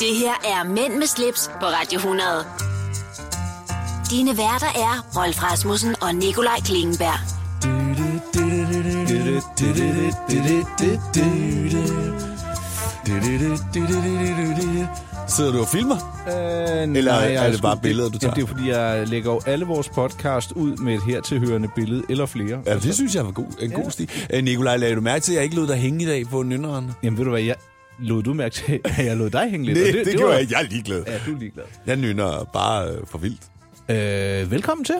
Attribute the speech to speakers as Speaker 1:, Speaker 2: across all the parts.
Speaker 1: Det her er Mænd med slips på Radio 100. Dine værter er Rolf Rasmussen og Nikolaj Klingenberg.
Speaker 2: Sidder du og filmer?
Speaker 3: Øh,
Speaker 2: Eller
Speaker 3: nej,
Speaker 2: er
Speaker 3: jeg
Speaker 2: det bare
Speaker 3: sgu-
Speaker 2: billeder, du tager?
Speaker 3: Jamen, det er fordi, jeg lægger jo alle vores podcast ud med et hertilhørende billede eller flere. Altså,
Speaker 2: Ja, det synes jeg var god, en god stil. Øh, Nikolaj, lagde du mærke til, at jeg ikke lod dig hænge i dag på nynderen?
Speaker 3: Jamen ved du hvad, jeg lod du mærke til, at jeg lod dig hænge lidt. og var-
Speaker 2: Jeg er ligeglad.
Speaker 3: Ja, du er ligeglad.
Speaker 2: Jeg nynner bare øh, for vildt.
Speaker 3: Øh, velkommen til.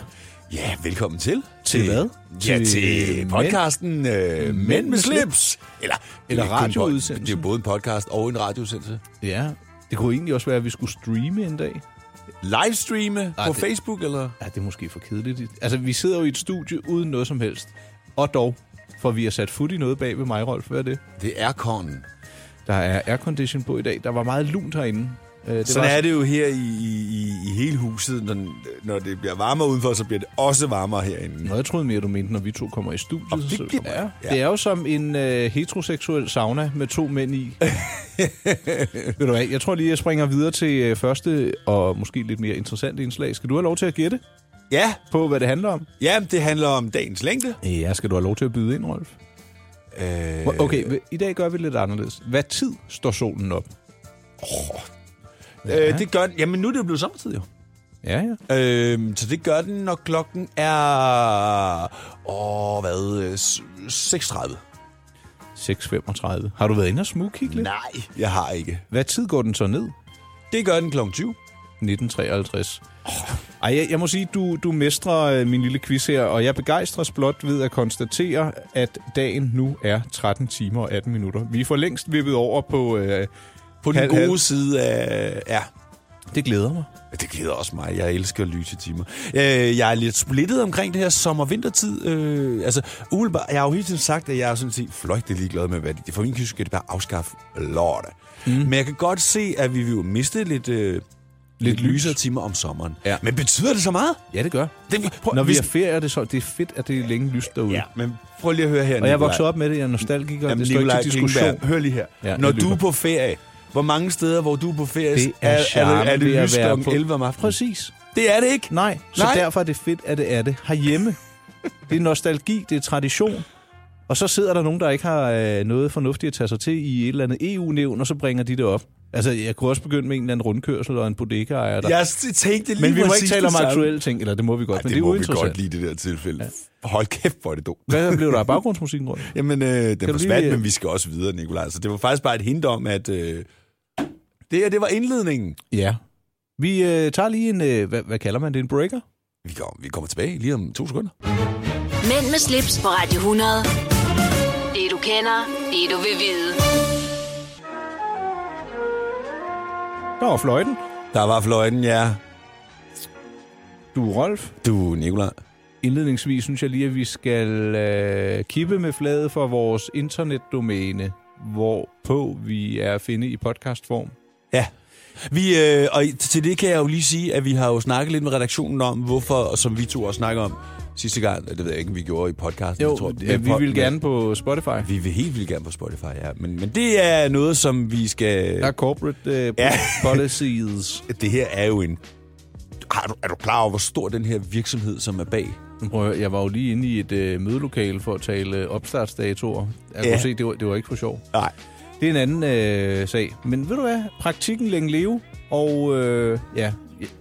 Speaker 2: Ja, velkommen til.
Speaker 3: Til hvad?
Speaker 2: Ja,
Speaker 3: Til
Speaker 2: til
Speaker 3: Mænd-
Speaker 2: podcasten øh, Mænd med slips. Eller,
Speaker 3: Eller
Speaker 2: det er kun en pod-
Speaker 3: radioudsendelse.
Speaker 2: Det er jo både en podcast og en radioudsendelse.
Speaker 3: Ja, det kunne egentlig også være, at vi skulle streame en dag.
Speaker 2: Livestreame på
Speaker 3: det-
Speaker 2: Facebook, eller?
Speaker 3: Ja, det er måske for kedeligt. Altså, vi sidder jo i et studie uden noget som helst. Og dog, for vi har sat fod i noget bag ved mig, Rolf. Hvad er det?
Speaker 2: Det er konen.
Speaker 3: Der er aircondition på i dag. Der var meget lunt herinde. Øh, Det
Speaker 2: Sådan
Speaker 3: var
Speaker 2: er det jo her i, i, i- i hele huset. Når, når det bliver varmere udenfor, så bliver det også varmere herinde.
Speaker 3: Nå, jeg troede mere, du mente, når vi to kommer i studiet.
Speaker 2: Og det
Speaker 3: så-
Speaker 2: bliver-
Speaker 3: ja.
Speaker 2: ja.
Speaker 3: det er jo som en øh, heteroseksuel sauna med to mænd i. Ved du hvad, jeg tror lige, jeg springer videre til øh, første og måske lidt mere interessante indslag. Skal du have lov til at gætte
Speaker 2: Ja,
Speaker 3: på, hvad det handler om?
Speaker 2: ja, det handler om dagens længde.
Speaker 3: Ja, skal du have lov til at byde ind, Rolf?
Speaker 2: Øh,
Speaker 3: Hvor- Okay, hva- i dag gør vi lidt anderledes. Hvad tid står solen op?
Speaker 2: øh, det gør den. Jamen, nu er det jo blevet sommertid, jo.
Speaker 3: Ja, ja.
Speaker 2: Øh, så det gør den, når klokken er... Åh, hvad? øh, s- 6.30.
Speaker 3: 6.35. Har du været inde og smugkigge lidt?
Speaker 2: Nej, jeg har ikke.
Speaker 3: Hvad tid går den så ned?
Speaker 2: Det gør den klokken 20.
Speaker 3: 1953. Ej, jeg, jeg må sige, du, du mestrer øh, min lille quiz her, og jeg begejstres blot ved at konstatere, at dagen nu er 13 timer og 18 minutter. Vi er for længst vippet over på... Øh,
Speaker 2: På den
Speaker 3: Halv-
Speaker 2: gode
Speaker 3: halv.
Speaker 2: side af... Ja,
Speaker 3: det glæder mig.
Speaker 2: det glæder også mig. Jeg elsker lysetimer. Øh, jeg er lidt splittet omkring det her sommer-vintertid. Øh, altså, umiddelbart, jeg har jo hele tiden sagt, at jeg er sådan set fløjtelig ligeglad med, hvad det er. For min kysk skal det bare afskaffe lørdag. Mm. Men jeg kan godt se, at vi vil jo miste lidt... Øh, lidt, lidt
Speaker 3: lys.
Speaker 2: lysere timer om sommeren.
Speaker 3: Ja.
Speaker 2: Men betyder det så meget?
Speaker 3: Ja, det gør.
Speaker 2: Det, prøv,
Speaker 3: Når vi
Speaker 2: hvis-
Speaker 3: er ferie, er det, så, det er fedt, at det er længe lyst derude.
Speaker 2: Ja, men prøv lige at høre her,
Speaker 3: Og jeg er
Speaker 2: Nikolaj.
Speaker 3: vokset op med det, jeg er nostalgiker,
Speaker 2: Jamen,
Speaker 3: det står ikke
Speaker 2: Nikolaj
Speaker 3: til diskussion.
Speaker 2: Klingenberg, hør lige her.
Speaker 3: Ja,
Speaker 2: Ja,
Speaker 3: jeg
Speaker 2: Når du
Speaker 3: lytter.
Speaker 2: er på ferie, hvor mange steder, hvor du er på ferie,
Speaker 3: Det er,
Speaker 2: er, er, det, er
Speaker 3: charmen
Speaker 2: det
Speaker 3: ved at
Speaker 2: lys
Speaker 3: være
Speaker 2: klokken
Speaker 3: på-
Speaker 2: 11 om aftenen?
Speaker 3: Præcis.
Speaker 2: Det er det ikke.
Speaker 3: Nej, så
Speaker 2: Nej.
Speaker 3: derfor er det fedt, at det er det herhjemme. Det er nostalgi, det er tradition. Og så sidder der nogen, der ikke har øh, noget fornuftigt at tage sig til i et eller andet EU-nævn, og så bringer de det op. Altså, jeg kunne også begynde med en eller anden rundkørsel og en bodega-ejer. Der.
Speaker 2: Jeg s- tænkte lige
Speaker 3: men vi må ikke
Speaker 2: præcis
Speaker 3: tale
Speaker 2: det
Speaker 3: om
Speaker 2: samme.
Speaker 3: aktuelle ting, eller det må vi godt,
Speaker 2: Ej,
Speaker 3: men
Speaker 2: det,
Speaker 3: det, er
Speaker 2: må vi godt
Speaker 3: uinteressant.
Speaker 2: lige i det der tilfælde. Ja. Hold kæft, hvor er det dumt.
Speaker 3: Hvad blev der af baggrundsmusikken rundt?
Speaker 2: Jamen, øh, den
Speaker 3: du
Speaker 2: forsvandt,
Speaker 3: lige-
Speaker 2: men vi skal også videre, Nikolaj. Så det var faktisk bare et hint om, at øh, det her, det var indledningen.
Speaker 3: Ja. Vi øh, tager lige en, øh, hvad, hvad kalder man det, en breaker?
Speaker 2: Vi kommer, vi kommer tilbage lige om to sekunder.
Speaker 1: Mænd med slips på Radio 100. Det du kender, det du vil vide.
Speaker 3: Der var fløjten.
Speaker 2: Der var fløjten, ja.
Speaker 3: Du er Rolf.
Speaker 2: Du, Nikolaj.
Speaker 3: Indledningsvis synes jeg lige, at vi skal øh, kippe med fladet for vores internetdomæne, hvorpå vi er at finde i podcastform.
Speaker 2: Ja. Vi, øh, og i- til det kan jeg jo lige sige, at vi har jo snakket lidt med redaktionen om, hvorfor, og som vi to også snakker om sidste gang, det ved jeg ikke, om vi gjorde i podcasten. jeg tror,
Speaker 3: øh, vi
Speaker 2: men-
Speaker 3: vil gerne på Spotify.
Speaker 2: Vi vil helt vildt gerne på Spotify, ja. Men, men det er noget, som vi skal...
Speaker 3: Der er corporate øh,
Speaker 2: Ja.
Speaker 3: policies.
Speaker 2: Det her er jo en... Har du, er du klar over, hvor stor den her virksomhed, som er bag?
Speaker 3: Prøv at høre, jeg var jo lige inde i et øh, mødelokale for at tale øh, opstartsdatoer. Jeg
Speaker 2: Ja.
Speaker 3: kunne se, det var, det var ikke for sjov.
Speaker 2: Nej.
Speaker 3: Det er en anden øh, sag. Men ved du hvad? Praktikken længe leve. Og øh, ja,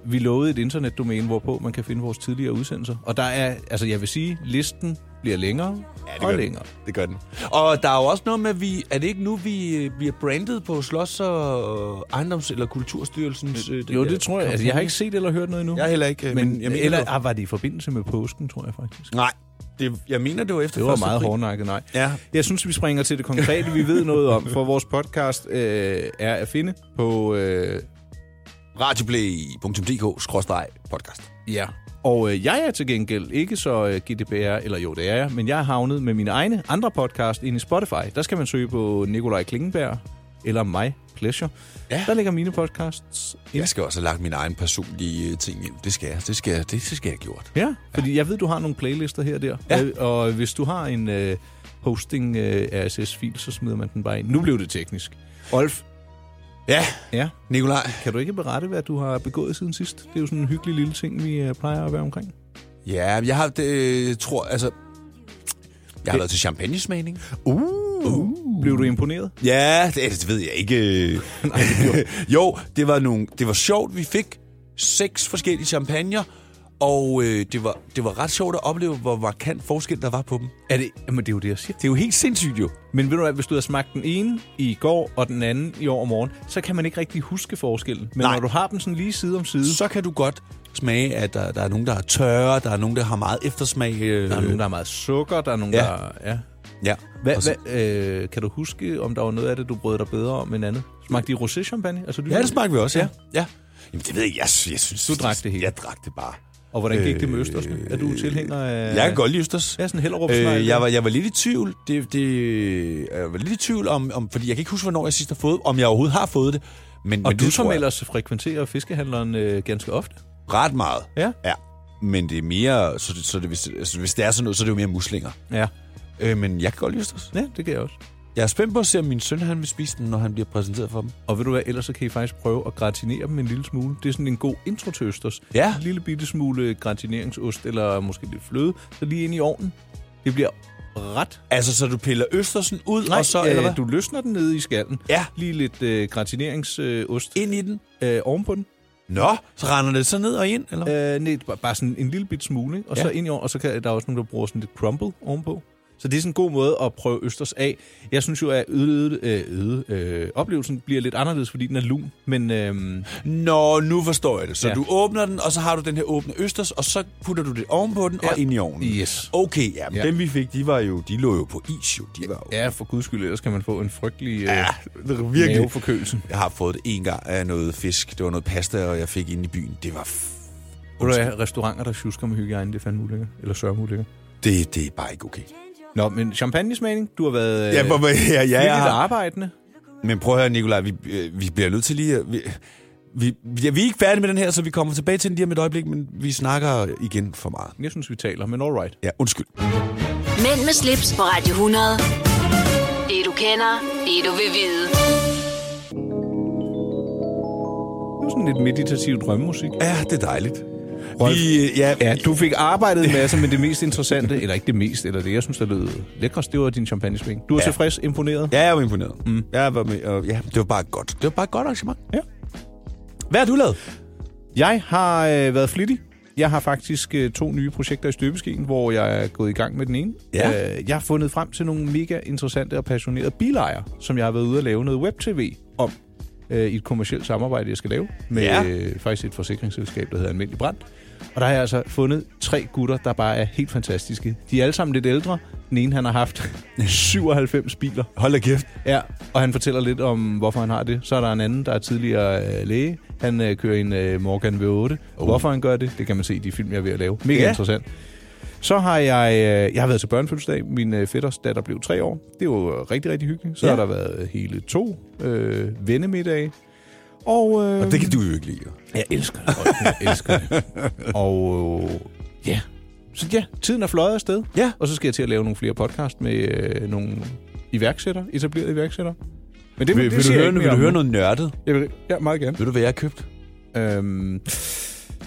Speaker 3: vi lovede et internetdomæne, hvorpå man kan finde vores tidligere udsendelser. Og der er, altså jeg vil sige, listen bliver længere ja, og længere.
Speaker 2: Det gør den. Og der er jo også noget med, at vi... Er det ikke nu, vi øh, bliver brandet på Slotts og øh, Ejendoms- eller Kulturstyrelsens... øh, den
Speaker 3: Jo,
Speaker 2: der
Speaker 3: det tror jeg. Altså,
Speaker 2: kampagne?
Speaker 3: jeg har ikke set eller hørt noget endnu.
Speaker 2: Jeg heller ikke, øh,
Speaker 3: Men,
Speaker 2: men jeg mener
Speaker 3: eller
Speaker 2: det var-
Speaker 3: ah, var det i forbindelse med påsken, tror jeg faktisk.
Speaker 2: Nej, det, jeg mener, det var efter
Speaker 3: Det var
Speaker 2: første
Speaker 3: meget
Speaker 2: april.
Speaker 3: hårdnakket, nej.
Speaker 2: Ja.
Speaker 3: Jeg synes, vi springer til det konkrete, vi ved noget om, for vores podcast øh, er at finde på øh,
Speaker 2: radioplay.dk-podcast.
Speaker 3: Ja. Og øh, jeg er til gengæld ikke så øh, GDPR, eller jo, det er jeg, men jeg er havnet med mine egne andre podcast ind i Spotify. Der skal man søge på Nikolaj Klingenberg eller mig, Pleasure.
Speaker 2: Ja.
Speaker 3: Der ligger mine podcasts ind.
Speaker 2: Jeg skal også have lagt min egen personlige øh, ting ind. Det skal jeg. Det skal jeg, det skal jeg have gjort.
Speaker 3: Ja, fordi jeg ved, du har nogle playlister her og der.
Speaker 2: Ja.
Speaker 3: Øh, Og hvis du har en øh, hosting øh, RSS-fil, så smider man den bare ind. Nu blev det teknisk. Rolf,
Speaker 2: Ja,
Speaker 3: Ja.
Speaker 2: Nikolaj.
Speaker 3: Kan du ikke berette, hvad du har begået siden sidst? Det er jo sådan en hyggelig lille ting, vi øh, plejer at være omkring.
Speaker 2: Ja, jeg har, det, tror, altså... Jeg har været til champagnesmagning.
Speaker 3: Uh. uh. Blev du imponeret?
Speaker 2: Ja, det, det ved jeg ikke. Nej, det jo, det var, nogle, det var sjovt. Vi fik seks forskellige champagner, og øh, det, var, det var ret sjovt at opleve, hvor markant forskel der var på dem.
Speaker 3: Er det, jamen, det er jo det, jeg siger.
Speaker 2: Det er jo helt sindssygt jo.
Speaker 3: Men ved du hvad, hvis du har smagt den ene i går og den anden i år og morgen, så kan man ikke rigtig huske forskellen. Men
Speaker 2: Nej.
Speaker 3: Nej. når du har dem sådan lige side om side,
Speaker 2: Så kan du godt smage, at der, der er nogen, der er tørre, der er nogen, der har meget eftersmag. Øh,
Speaker 3: der er nogen, der har meget sukker, der er nogen,
Speaker 2: Ja.
Speaker 3: ja. der... Ja.
Speaker 2: Ja.
Speaker 3: Hva,
Speaker 2: Og så-
Speaker 3: hva, øh, kan du huske, om der var noget af det, du brød dig bedre om end andet? Smagte I rosé-champagne? Altså,
Speaker 2: Ja, det smagte vi også, ja.
Speaker 3: Ja.
Speaker 2: ja. Jamen, det ved jeg. Jeg, sy- jeg synes...
Speaker 3: Du drak det hele.
Speaker 2: Jeg drak det bare.
Speaker 3: Og hvordan gik det med Østersne? Er du tilhænger af...
Speaker 2: Jeg kan godt lide Østers.
Speaker 3: Ja, sådan hellerup
Speaker 2: Øh, jeg, var, jeg var lidt i tvivl, det, det, jeg var lidt i tvivl om, om, fordi jeg kan ikke huske, hvornår jeg sidst har fået, om jeg overhovedet har fået det. Men, men
Speaker 3: Og du
Speaker 2: det
Speaker 3: som
Speaker 2: tror jeg
Speaker 3: ellers frekventerer fiskehandleren øh, ganske ofte.
Speaker 2: ret meget.
Speaker 3: Ja.
Speaker 2: ja. Men det er mere, så, det, så det, hvis, det, altså, hvis det er sådan noget, så er det jo mere muslinger.
Speaker 3: Ja.
Speaker 2: Øh, men jeg kan godt lide Østers.
Speaker 3: Ja, det kan jeg også.
Speaker 2: Jeg er spændt på at se, om min søn han vil spise den, når han bliver præsenteret for dem.
Speaker 3: Og ved du hvad, ellers så kan I faktisk prøve at gratinere dem en lille smule. Det er sådan en god intro til Østers.
Speaker 2: Ja.
Speaker 3: En lille bitte smule gratineringsost, eller måske lidt fløde, så lige ind i ovnen. Det bliver ret...
Speaker 2: Altså, så du piller Østersen ud, og så,
Speaker 3: øh,
Speaker 2: eller hvad?
Speaker 3: Du løsner den nede i skallen.
Speaker 2: Ja.
Speaker 3: Lige lidt øh, gratineringsost
Speaker 2: Ind i den.
Speaker 3: øh, ovenpå den.
Speaker 2: Nå, så render det så ned og ind, eller?
Speaker 3: Øh, nej, bare, bare sådan en lille bit smule, ikke? og
Speaker 2: Ja.
Speaker 3: ja. så ind i år, og så kan, der er også nogen, der bruger sådan lidt crumble ovenpå. Så det er sådan en god måde at prøve Østers af. Jeg synes jo, at øde, øh, øde øh, oplevelsen bliver lidt anderledes, fordi den er lun. Men øhm,
Speaker 2: Øh, Nå, nu forstår jeg det. Så ja.
Speaker 3: Ja.
Speaker 2: du åbner den, og så har du den her åbne østers, og så putter du det ovenpå den ja.
Speaker 3: Ja.
Speaker 2: og ind i ovnen.
Speaker 3: Yes.
Speaker 2: Okay, ja, men ja.
Speaker 3: Ja.
Speaker 2: dem vi fik, de var jo, de lå jo på is jo. De var jo,
Speaker 3: ja, for guds skyld, ellers kan man få en frygtelig øh,
Speaker 2: ja,
Speaker 3: ja,
Speaker 2: det er virkelig.
Speaker 3: maveforkølelse.
Speaker 2: Jeg har fået det en gang af noget fisk. Det var noget pasta, og jeg fik ind i byen. Det var... F-
Speaker 3: Ved du hvad, restauranter, der tjusker med hygiejne, det er fandme ulækkert. Eller sørgeulækkert.
Speaker 2: det, det er bare ikke okay.
Speaker 3: Nå, men champagnesmagning, du har været øh,
Speaker 2: Ja,
Speaker 3: ja,
Speaker 2: hvor- ja, ja,
Speaker 3: ja,
Speaker 2: ja.
Speaker 3: arbejdende.
Speaker 2: Men prøv at høre, Nikolaj, vi, øh, vi bliver nødt til lige... at- Vi, vi, ja, vi er ikke færdige med den her, så vi kommer tilbage til den lige om et øjeblik, men vi snakker igen for meget.
Speaker 3: Jeg synes, vi taler, men all right.
Speaker 2: Ja, undskyld.
Speaker 1: Mænd med slips på Radio 100. Det du kender, det du vil vide.
Speaker 3: Det er sådan lidt meditativ drømmemusik.
Speaker 2: Ja, det er dejligt.
Speaker 3: Rolf.
Speaker 2: Vi, øh, ja,
Speaker 3: Ja, du fik arbejdet en masse, men det mest interessante, eller ikke det mest, eller det, jeg synes, der lød lækrest, det var din champagnesmæng. Du er
Speaker 2: Ja.
Speaker 3: ja. tilfreds, imponeret.
Speaker 2: Ja, jeg var imponeret. Mm. Jeg var med, og ja, det var bare godt. Det var bare et godt arrangement.
Speaker 3: Ja.
Speaker 2: Hvad har du lavet?
Speaker 3: Jeg har øh, været flittig. Jeg har faktisk øh, to nye projekter i støbeskeen, hvor jeg er gået i gang med den ene.
Speaker 2: Ja.
Speaker 3: Øh, jeg har fundet frem til nogle mega interessante og passionerede bilejere, som jeg har været ude at lave noget web-tv om øh, i et kommersielt samarbejde, jeg skal lave med
Speaker 2: Ja.
Speaker 3: ja. øh, faktisk et forsikringsselskab, der hedder Almindelig Brand. Og der har jeg altså fundet tre gutter, der bare er helt fantastiske. De er alle sammen lidt ældre. Den ene, han har haft 97 biler.
Speaker 2: Hold da kæft.
Speaker 3: Ja, og han fortæller lidt om, hvorfor han har det. Så er der en anden, der er tidligere øh, læge. Han øh, kører en øh, Morgan V8. Oh. Hvorfor han gør det, det kan man se i de film, jeg er ved at lave. Mega
Speaker 2: Ja.
Speaker 3: ja. interessant. Så har jeg, øh, jeg har været til børnefødselsdag. Min øh, fætters datter blev tre år. Det var jo rigtig, rigtig hyggeligt. Så
Speaker 2: Ja.
Speaker 3: ja. har der været hele to øh, vennemiddage. Og, øh,
Speaker 2: Og det kan du jo ikke lide. jo.
Speaker 3: jeg elsker det. Rolf. Jeg elsker det. Og øh, ja, så ja, tiden er fløjet afsted.
Speaker 2: Ja.
Speaker 3: Og så skal jeg til at lave nogle flere podcast med øh, nogle iværksættere, etablerede iværksættere. Men det,
Speaker 2: Vil, vil, du,
Speaker 3: siger jeg
Speaker 2: høre,
Speaker 3: ikke
Speaker 2: vil
Speaker 3: mere
Speaker 2: du
Speaker 3: om
Speaker 2: høre
Speaker 3: nu.
Speaker 2: noget nørdet?
Speaker 3: Jeg vil, ja, meget gerne.
Speaker 2: Ved du, hvad jeg har købt?
Speaker 3: Øhm,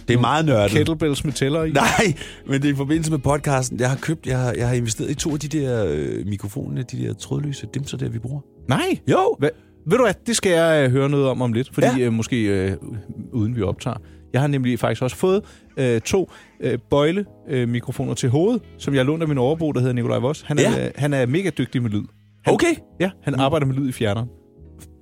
Speaker 2: Det er meget nørdet.
Speaker 3: kettlebells med tæller i.
Speaker 2: Nej, men det er i forbindelse med podcasten. Jeg har købt, jeg har, jeg har investeret i to af de der øh, mikrofoner, de der trådløse dimser der, vi bruger.
Speaker 3: Nej.
Speaker 2: Jo.
Speaker 3: Hva, ved du hvad, det skal jeg øh, høre noget om om lidt, fordi
Speaker 2: Ja.
Speaker 3: ja. øh, måske øh, uden vi optager. Jeg har nemlig faktisk også fået øh, to øh, bøjlemikrofoner øh, mikrofoner til hovedet, som jeg lånte af min overbo, der hedder Nikolaj Voss. Han er,
Speaker 2: Ja.
Speaker 3: ja. øh, han er mega dygtig med lyd. Han,
Speaker 2: Okay.
Speaker 3: Ja, han arbejder med lyd i fjerneren.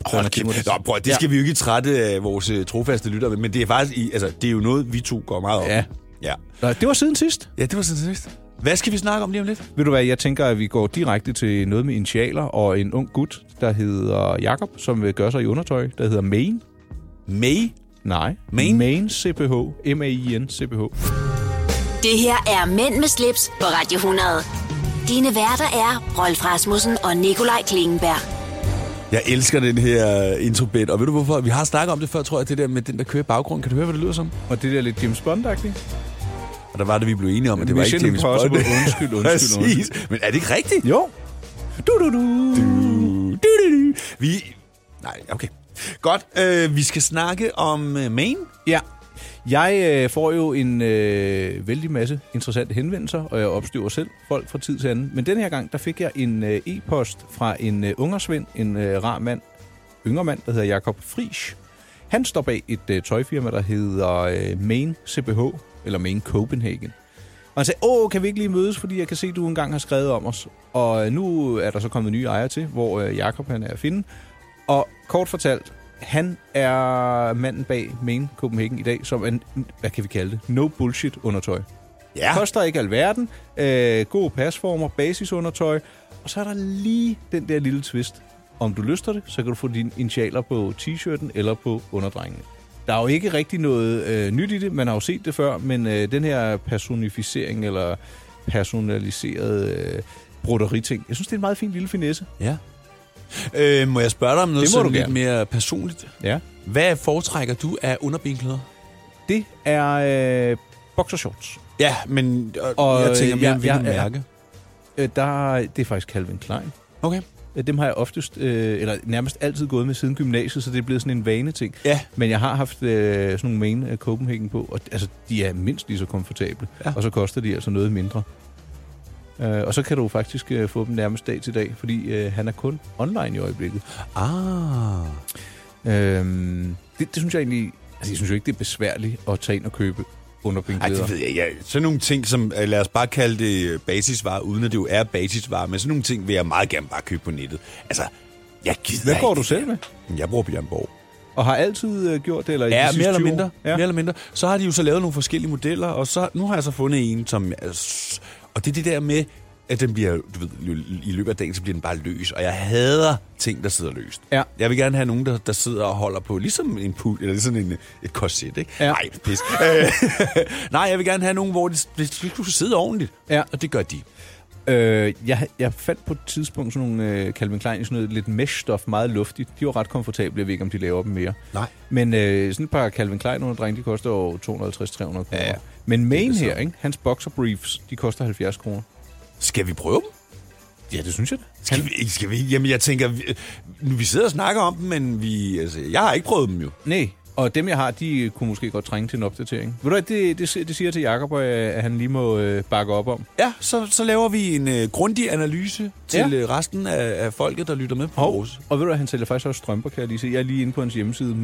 Speaker 2: Hold kæft. Nå, prøv, det skal vi jo ikke trætte af vores øh, trofaste lytter med, men det er faktisk, i, altså, det er jo noget, vi to går meget op. i.
Speaker 3: Ja.
Speaker 2: Ja,
Speaker 3: Nå, det var siden sidst.
Speaker 2: ja det var sådan set. Hvad skal vi snakke om lige om lidt?
Speaker 3: Ved du hvad, jeg tænker, at vi går direkte til noget med initialer og en ung gut, der hedder Jakob, som øh, gør sig i undertøj, der hedder Main.
Speaker 2: May?
Speaker 3: Nej.
Speaker 2: Main?
Speaker 3: Main CPH. M-A-I-N CPH.
Speaker 1: Det her er Mænd med slips på Radio 100. Dine værter er Rolf Rasmussen og Nikolaj Klingenberg.
Speaker 2: Jeg elsker den her øh, introbit, og ved du hvorfor? Vi har snakket om det før, tror jeg, det der med den, der kører i baggrunden. Kan du høre, hvad det lyder som?
Speaker 3: Og det der lidt James bond -agtigt.
Speaker 2: Og der var det, vi blev enige om, at det var ikke
Speaker 3: Mission
Speaker 2: James Bond.
Speaker 3: Impossible. Undskyld, undskyld,
Speaker 2: Præcis. Men er det ikke rigtigt?
Speaker 3: Jo. Du, du, du.
Speaker 2: Du, du, du, du. Vi... Nej, okay. Godt, øh, vi skal snakke om øh, Maine.
Speaker 3: Ja. Jeg øh, får jo en øh, vældig masse interessante henvendelser, og jeg opstøver selv folk fra tid til anden. Men den her gang, der fik jeg en øh, e-post fra en øh, ungersvend, en øh, rar mand, yngre mand, der hedder Jakob Frisch. Han står bag et øh, tøjfirma, der hedder øh, Main CBH, eller Main Copenhagen. Og han sagde, åh, kan vi ikke lige mødes, fordi jeg kan se, at du engang har skrevet om os. Og øh, nu er der så kommet nye ejere til, hvor øh, Jakob han er at finde. Og kort fortalt, han er manden bag Main Copenhagen i dag, som en, hvad kan vi kalde det, no bullshit undertøj.
Speaker 2: Ja.
Speaker 3: Koster ikke alverden, øh, gode pasformer, basisundertøj, og så er der lige den der lille twist. Om du lyster det, så kan du få dine initialer på t-shirten eller på underdrengen. Der er jo ikke rigtig noget øh, nyt i det, man har jo set det før, men øh, den her personificering eller personaliseret øh, broderiting, jeg synes, det er en meget fin lille finesse.
Speaker 2: ja. Øh, må jeg spørge dig om noget
Speaker 3: Det må
Speaker 2: sådan
Speaker 3: du
Speaker 2: lidt
Speaker 3: gerne.
Speaker 2: mere personligt?
Speaker 3: Ja.
Speaker 2: Hvad foretrækker du af underbenklæder?
Speaker 3: Det er øh, boxershorts.
Speaker 2: Ja, men øh,
Speaker 3: Og,
Speaker 2: og, jeg tænker
Speaker 3: øh,
Speaker 2: mere,
Speaker 3: ja,
Speaker 2: ja, hvilken
Speaker 3: ja, ja.
Speaker 2: mærke.
Speaker 3: Øh, der, det er faktisk Calvin Klein.
Speaker 2: Okay.
Speaker 3: Øh, Dem har jeg oftest, øh, eller nærmest altid gået med siden gymnasiet, så det er blevet sådan en vaneting.
Speaker 2: Ja.
Speaker 3: Men jeg har haft øh, sådan nogle main af Copenhagen på, og altså, de er mindst lige så komfortable,
Speaker 2: Ja.
Speaker 3: ja. og så koster de altså noget mindre. Øh, og så kan du faktisk øh, få dem nærmest dag til dag, fordi øh, han er kun online i øjeblikket.
Speaker 2: Ah.
Speaker 3: Øhm, det, det synes jeg egentlig, altså jeg synes jo ikke, det er besværligt at tage ind og købe
Speaker 2: Ej,
Speaker 3: underbindklæder.
Speaker 2: det ved jeg ikke. Ja, Sådan nogle ting, som øh, lad os bare kalde det øh, basisvarer, uden at det jo er basisvarer, men sådan nogle ting vil jeg meget gerne bare købe på nettet. Altså, jeg gider
Speaker 3: Hvad går
Speaker 2: ikke.
Speaker 3: du selv med?
Speaker 2: Jeg bruger Bjørn Borg.
Speaker 3: Og har altid øh, gjort det? Eller i de
Speaker 2: Ja,
Speaker 3: sidste
Speaker 2: mere eller,
Speaker 3: 20 år?
Speaker 2: mindre, ja.
Speaker 3: Ja.
Speaker 2: mere eller mindre. Så har de jo så lavet nogle forskellige modeller, og så, nu har jeg så fundet en, som... er s- Og det er det der med, at den bliver, du ved, i- i løbet af dagen, så bliver den bare løs. Og jeg hader ting, der sidder løst.
Speaker 3: Ja.
Speaker 2: Jeg vil gerne have nogen, der, der sidder og holder på, ligesom en pul, eller ligesom en, et korset, ikke?
Speaker 3: Ja.
Speaker 2: Nej, pis. Øh, Nej, jeg vil gerne have nogen, hvor de, de, de kunne sidde ordentligt.
Speaker 3: Ja.
Speaker 2: Og det gør de.
Speaker 3: Øh, jeg, jeg fandt på et tidspunkt sådan nogle øh, Calvin Klein, i sådan noget lidt mesh-stof, meget luftigt. De var ret komfortable, jeg ved ikke, om de laver dem mere.
Speaker 2: Nej.
Speaker 3: Men øh, sådan et par Calvin Klein underdreng, de koster jo 250-300 kroner.
Speaker 2: Ja, ja.
Speaker 3: Men main
Speaker 2: det
Speaker 3: her,
Speaker 2: samme.
Speaker 3: ikke? hans boxer briefs, de koster 70 kroner.
Speaker 2: Skal vi prøve dem?
Speaker 3: Ja, det synes jeg da.
Speaker 2: Skal vi, skal vi? Jamen, jeg tænker, vi, nu, vi sidder og snakker om dem, men vi, altså, jeg har ikke prøvet dem jo.
Speaker 3: Nej, og dem jeg har, de øh, kunne måske godt trænge til en opdatering. Ved du hvad, det, det, si- det siger jeg til Jacob, øh, at han lige må øh, bakke op om.
Speaker 2: Ja, så, så laver vi en øh, grundig analyse til
Speaker 3: Ja.
Speaker 2: øh, resten af, af folket, der lytter med på
Speaker 3: Og,
Speaker 2: vores.
Speaker 3: og ved du hvad, han sælger faktisk også strømper, kan jeg lige se. Jeg er lige inde på hans hjemmeside,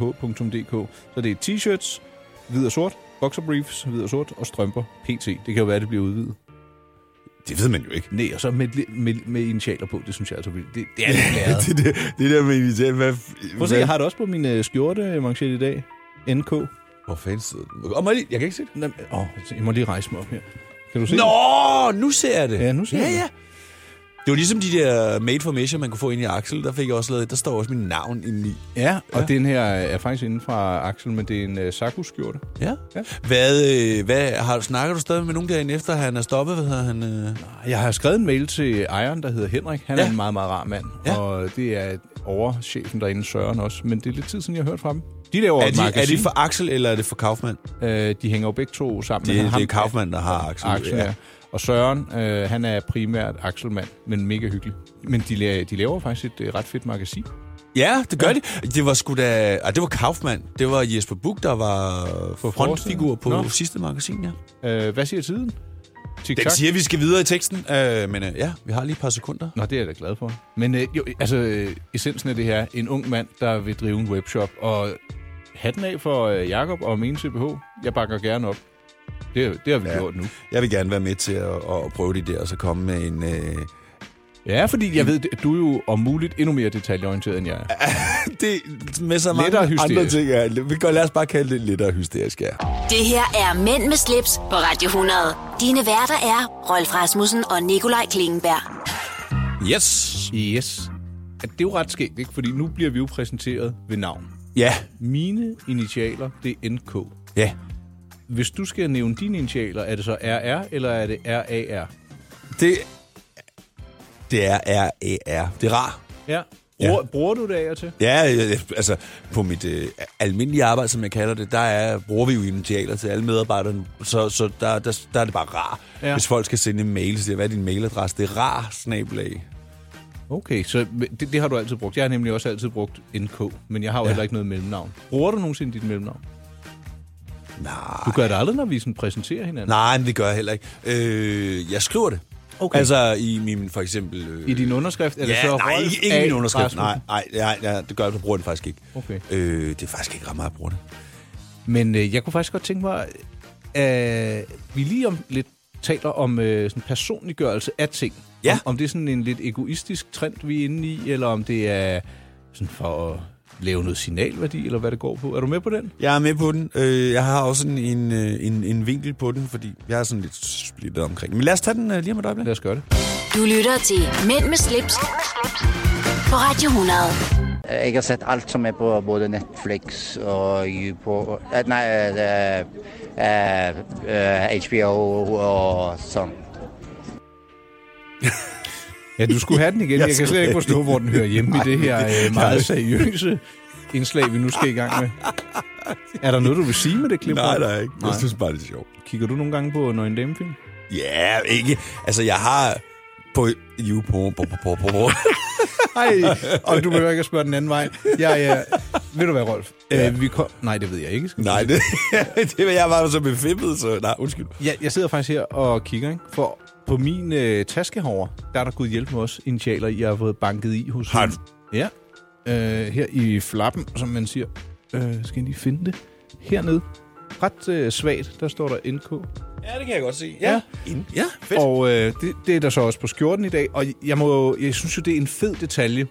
Speaker 3: maincbh.dk. Så det er t-shirts, hvid og sort, boxerbriefs, hvid og sort, og strømper, pt. Det kan jo være, det bliver udvidet.
Speaker 2: Det ved man jo ikke.
Speaker 3: Nej, og så med, med, med initialer på, det synes jeg altså vildt. Det, det er lidt læret.
Speaker 2: det, det, det der med invitering, hvad...
Speaker 3: Prøv at se, jeg har det også på min øh, skjorte manchette i dag. NK.
Speaker 2: Hvor fanden sidder den? Og må jeg, lige, jeg kan ikke se det.
Speaker 3: Nå, men- Åh, jeg må lige rejse mig op her. Kan du se det?
Speaker 2: Nå, nu ser jeg det.
Speaker 3: Ja, nu ser
Speaker 2: ja,
Speaker 3: jeg det.
Speaker 2: ja. Det var ligesom de der made for measure, man kunne få ind i Axel. Der fik jeg også lavet, der står også mit navn inde i.
Speaker 3: Ja, og
Speaker 2: Ja.
Speaker 3: ja. den her er faktisk inden fra Axel, men det er en øh, Sakus-skjorte.
Speaker 2: Ja.
Speaker 3: Ja.
Speaker 2: Hvad, øh, hvad har, snakker du stadig med nogen derinde efter, han er stoppet? Hvad hedder han? Øh?
Speaker 3: Jeg har skrevet en mail til ejeren, der hedder Henrik. Han ja.
Speaker 2: Ja.
Speaker 3: er en meget, meget rar mand.
Speaker 2: Ja.
Speaker 3: Ja. Og det er overchefen derinde, Søren også. Men det er lidt tid siden, jeg har hørt fra dem. De laver
Speaker 2: Er,
Speaker 3: et
Speaker 2: de, er
Speaker 3: magasin.
Speaker 2: det for Axel, eller er det for Kaufmann?
Speaker 3: Øh, de hænger jo begge to sammen.
Speaker 2: Det,
Speaker 3: Men
Speaker 2: det
Speaker 3: ham-
Speaker 2: er Kaufmann, der har Axel.
Speaker 3: Axel, ja. Og Søren, øh, han er primært Axelmand, men mega hyggelig. Men de, la- de laver faktisk et øh, ret fedt magasin.
Speaker 2: Ja, det gør
Speaker 3: Ja.
Speaker 2: ja. de. Det var sgu da... Ah, det var Kaufmann. Det var Jesper Buch, der var frontfigur
Speaker 3: forsiden.
Speaker 2: på
Speaker 3: Nå.
Speaker 2: sidste magasin, ja.
Speaker 3: Øh, hvad siger tiden? Tik
Speaker 2: Den siger, at vi skal videre i teksten, øh, men øh, ja, vi har lige et par sekunder.
Speaker 3: Nå, det er jeg da glad for. Men øh, jo, altså, øh, essensen af det her, en ung mand, der vil drive en webshop, og hatten af for øh, Jakob og min CPH, jeg bakker gerne op. Det, det har vi ja. gjort nu.
Speaker 2: Jeg vil gerne være med til at, at prøve det der, og så komme med en... Øh...
Speaker 3: Ja, fordi jeg ved, at du er jo om muligt endnu mere detaljeorienteret, end jeg er.
Speaker 2: Det med så
Speaker 3: mange Lettere hysterisk. andre ting,
Speaker 2: Ja. Vi kan, lad os bare kalde det lettere hysterisk, ja.
Speaker 1: Det her er Mænd med slips på Radio 100. Dine værter er Rolf Rasmussen og Nikolaj Klingenberg.
Speaker 2: Yes.
Speaker 3: Ah, Yes. At det er jo ret skægt, ikke? Fordi nu bliver vi jo præsenteret ved navn.
Speaker 2: Ja.
Speaker 3: Mine initialer, det er NK.
Speaker 2: Ja.
Speaker 3: Hvis du skal nævne dine initialer, er det så RR, eller er det RAR?
Speaker 2: Det, det er R-A-R. Det er rar.
Speaker 3: Ja.
Speaker 2: Ja.
Speaker 3: Bruger, ja. bruger du det af og til?
Speaker 2: Ja, jeg- jeg- altså på mit øh, almindelige arbejde, som jeg kalder det, der er, bruger vi jo initialer til alle medarbejderne, så, så der, der, der er det bare rar. Ja.
Speaker 3: Ja.
Speaker 2: Hvis folk skal sende en mail, så siger jeg, hvad er din mailadresse? Det er rar, snabelag.
Speaker 3: Okay, så det, det har du altid brugt. Jeg har nemlig også altid brugt NK, men jeg har jo ja. heller ikke noget mellemnavn. Bruger du nogensinde dit mellemnavn?
Speaker 2: Nej.
Speaker 3: Du gør det aldrig, når vi sådan præsenterer hinanden.
Speaker 2: Nej, men det gør jeg heller ikke. Øh, jeg skriver det.
Speaker 3: Okay.
Speaker 2: Altså i min, for eksempel... Øh,
Speaker 3: I din underskrift? Er det
Speaker 2: Ja,
Speaker 3: så
Speaker 2: nej,
Speaker 3: Rolf
Speaker 2: ikke, ikke
Speaker 3: A.
Speaker 2: min underskrift.
Speaker 3: Rasmussen?
Speaker 2: Nej, nej, nej, nej, det gør jeg, du bruger den faktisk ikke.
Speaker 3: Okay.
Speaker 2: Øh, det er faktisk ikke ret meget, jeg bruger det.
Speaker 3: Men øh, jeg kunne faktisk godt tænke mig, at vi lige om lidt taler om øh, sådan personliggørelse af ting.
Speaker 2: Ja.
Speaker 3: Om, om det er sådan en lidt egoistisk trend, vi er inde i, eller om det er sådan for at lave noget signalværdi, eller hvad det går på. Er du med på den?
Speaker 2: Jeg er med på den. Øh, jeg har også sådan en, øh, en, en vinkel på den, fordi jeg er sådan lidt splittet omkring det. Men lad os tage den øh, lige om et øjeblik.
Speaker 3: Lad os gøre det.
Speaker 1: Du lytter til Mænd med slips, på Radio 100.
Speaker 4: Jeg har sett alt som er på både Netflix og YouPo- eh, Nei, eh, eh, eh, HBO og sånn.
Speaker 3: Ja, du skulle have den igen.
Speaker 2: Jeg
Speaker 3: Jeg, jeg kan slet
Speaker 2: skulle
Speaker 3: ikke forstå, hvor den hører hjemme i det her øh, meget
Speaker 2: Nej.
Speaker 3: seriøse indslag, vi nu skal i gang med. Er der noget, du vil sige med det klip?
Speaker 2: Nej,
Speaker 3: Rolf?
Speaker 2: nej, ikke. Jeg synes bare, det er sjovt.
Speaker 3: Kigger du nogle gange på Nøgen Dame-film?
Speaker 2: Ja, ikke. Altså, jeg har på YouPorn... På, på, på, på, på.
Speaker 3: Ej, og du behøver ikke at spørge den anden vej. Jeg, jeg, ved du hvad, Rolf? Ja. Øh, vi kom, nej, det ved jeg ikke. Skal
Speaker 2: Nej, det, det var jeg var jo så befippet, så... Nej, undskyld.
Speaker 3: Jeg, jeg sidder faktisk her og kigger, ikke? For på min øh, taske herovre, der er der gået hjælp med os initialer, jeg har fået banket i hos...
Speaker 2: Har
Speaker 3: en- Ja. Øh, her i flappen, som man siger. Øh, skal jeg lige finde det? Hernede. Ret øh, svagt, der står der NK.
Speaker 2: Ja, det kan jeg godt se.
Speaker 3: Ja.
Speaker 2: In- ja fedt. Og
Speaker 3: Og øh, det, det er der så også på skjorten i dag, og jeg, må, jeg synes jo, det er en fed detalje.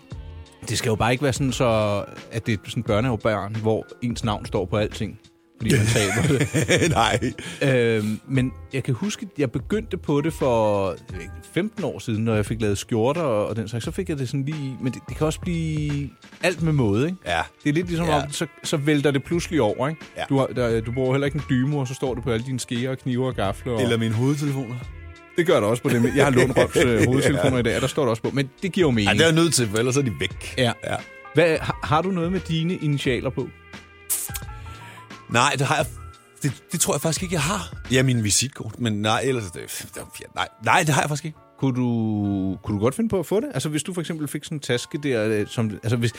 Speaker 3: Det skal jo bare ikke være sådan så, at det er sådan børnehavebørn, hvor ens navn står på alting, fordi man taber det.
Speaker 2: nej.
Speaker 3: øhm, men jeg kan huske, at jeg begyndte på det for jeg ved ikke, 15 år siden, når jeg fik lavet skjorter og, og den slags, så fik jeg det sådan lige, i. men det, det kan også blive alt med måde, ikke?
Speaker 2: Ja.
Speaker 3: Det er lidt ligesom,
Speaker 2: Ja.
Speaker 3: ja. om, så, så vælter det pludselig over, ikke?
Speaker 2: Ja.
Speaker 3: Du, har, der, du bruger heller ikke en dymo, og så står det på alle dine skeer og kniver og gafler. Og...
Speaker 2: Eller mine hovedtelefoner.
Speaker 3: Det gør der også på dem. Jeg har lånt Robs øh, hovedtelefoner i dag, og der står der også på. Men det giver jo
Speaker 2: Nej,
Speaker 3: mening.
Speaker 2: det er jeg nødt til, for ellers er de væk.
Speaker 3: Ja.
Speaker 2: ja.
Speaker 3: Hvad, har, har du noget med dine initialer på?
Speaker 2: Nej, det har jeg... Det, det, tror jeg faktisk ikke, jeg har. Ja, min visitkort, men nej, ellers... Det, det, ja, nej, nej, det har jeg faktisk ikke.
Speaker 3: Kunne du, kunne du godt finde på at få det? Altså, hvis du for eksempel fik sådan en taske der, øh, som... Altså, hvis,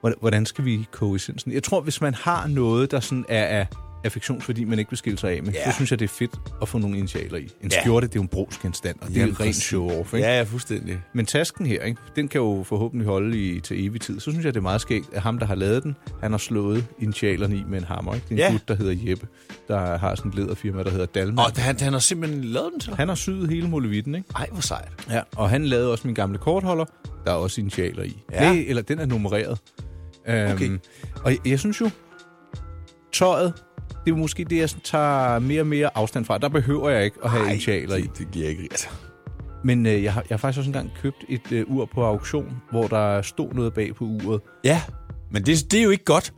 Speaker 3: hvordan- hvordan skal vi koge essensen? Jeg tror, hvis man har noget, der sådan er af affektionsværdi, man ikke vil skille sig af med,
Speaker 2: Ja.
Speaker 3: så synes jeg, det er fedt at få nogle initialer i. En
Speaker 2: Ja.
Speaker 3: skjorte, det er jo en brugsgenstand, og det
Speaker 2: Jamen,
Speaker 3: er rent
Speaker 2: præcis.
Speaker 3: show-off, ikke?
Speaker 2: Ja, ja, fuldstændig.
Speaker 3: Men tasken her, ikke? den kan jo forhåbentlig holde i, til evig tid. Så synes jeg, det er meget skægt, at ham, der har lavet den, han har slået initialerne i med en hammer. Ikke? Det er en
Speaker 2: Ja.
Speaker 3: ja. gut, der hedder Jeppe, der har sådan et lederfirma, der hedder Dalman.
Speaker 2: Og han, han har simpelthen lavet den til dig.
Speaker 3: Han har syet hele molevitten, ikke?
Speaker 2: Ej, hvor sejt.
Speaker 3: Ja. Og han lavede også min gamle kortholder, der er også initialer i.
Speaker 2: Ja.
Speaker 3: Nej, eller den er nummereret. Øhm,
Speaker 2: Okay.
Speaker 3: Og jeg, jeg synes jo, tøjet, det er måske det, jeg sådan tager mere og mere afstand fra. Der behøver jeg ikke at have initialer i.
Speaker 2: det, det giver ikke... Altså.
Speaker 3: Men øh, jeg, har, jeg har faktisk også engang købt et øh, ur på auktion, hvor der stod noget bag på uret.
Speaker 2: Ja, men det, det er jo ikke godt.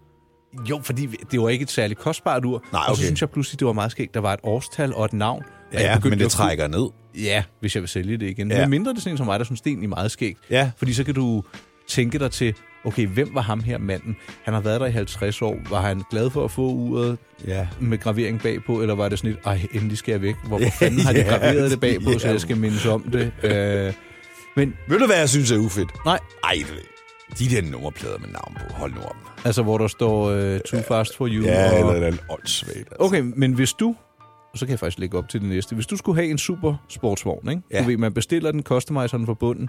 Speaker 3: Jo, fordi det var ikke et særligt kostbart ur.
Speaker 2: Nej,
Speaker 3: Og så
Speaker 2: okay.
Speaker 3: synes jeg pludselig, det var meget skægt. Der var et årstal og et navn. og jeg
Speaker 2: Ja,
Speaker 3: begyndte
Speaker 2: men det
Speaker 3: at kunne-
Speaker 2: trækker ned.
Speaker 3: Ja, hvis jeg vil sælge det igen.
Speaker 2: Ja.
Speaker 3: Ja. Men mindre det er sådan en som mig, der synes, det er egentlig meget skægt.
Speaker 2: Ja.
Speaker 3: Fordi så kan du tænke dig til, okay, hvem var ham her manden? Han har været der i 50 år. Var han glad for at få uret
Speaker 2: Ja.
Speaker 3: med gravering bagpå, eller var det sådan et, ej, endelig skal jeg væk. Hvor fanden har de graveret det bagpå, så
Speaker 2: Ja.
Speaker 3: jeg skal mindes om det? Øh, men
Speaker 2: Ved du, hvad jeg synes er ufedt?
Speaker 3: nej,
Speaker 2: Ej, det- de der nummerplader med navn på, hold nu op.
Speaker 3: altså hvor der står øh, too fast for you. og-
Speaker 2: det er åndssvagt. Altså.
Speaker 3: Okay, men hvis du, og så kan jeg faktisk lægge op til det næste. Hvis du skulle have en super sportsvogn, ikke?
Speaker 2: Ja.
Speaker 3: Ja. Du ved, man bestiller den, customiser den fra bunden.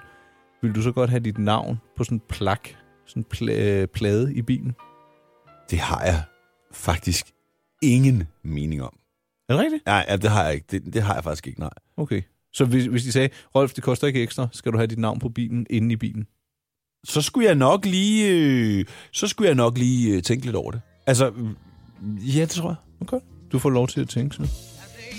Speaker 3: Vil du så godt have dit navn på sådan en plak, sådan en pl- øh, plade i bilen?
Speaker 2: Det har jeg faktisk ingen mening om.
Speaker 3: Er det rigtigt?
Speaker 2: Nej, ja, det har jeg ikke. Det, det har jeg faktisk ikke, nej.
Speaker 3: Okay. Så hvis, hvis de sagde, Rolf, det koster ikke ekstra, skal du have dit navn på bilen, inde i bilen?
Speaker 2: Så skulle jeg nok lige, øh, så skulle jeg nok lige øh, tænke lidt over det. Altså, mm, ja, det tror jeg.
Speaker 3: Okay. Du får lov til at tænke sådan.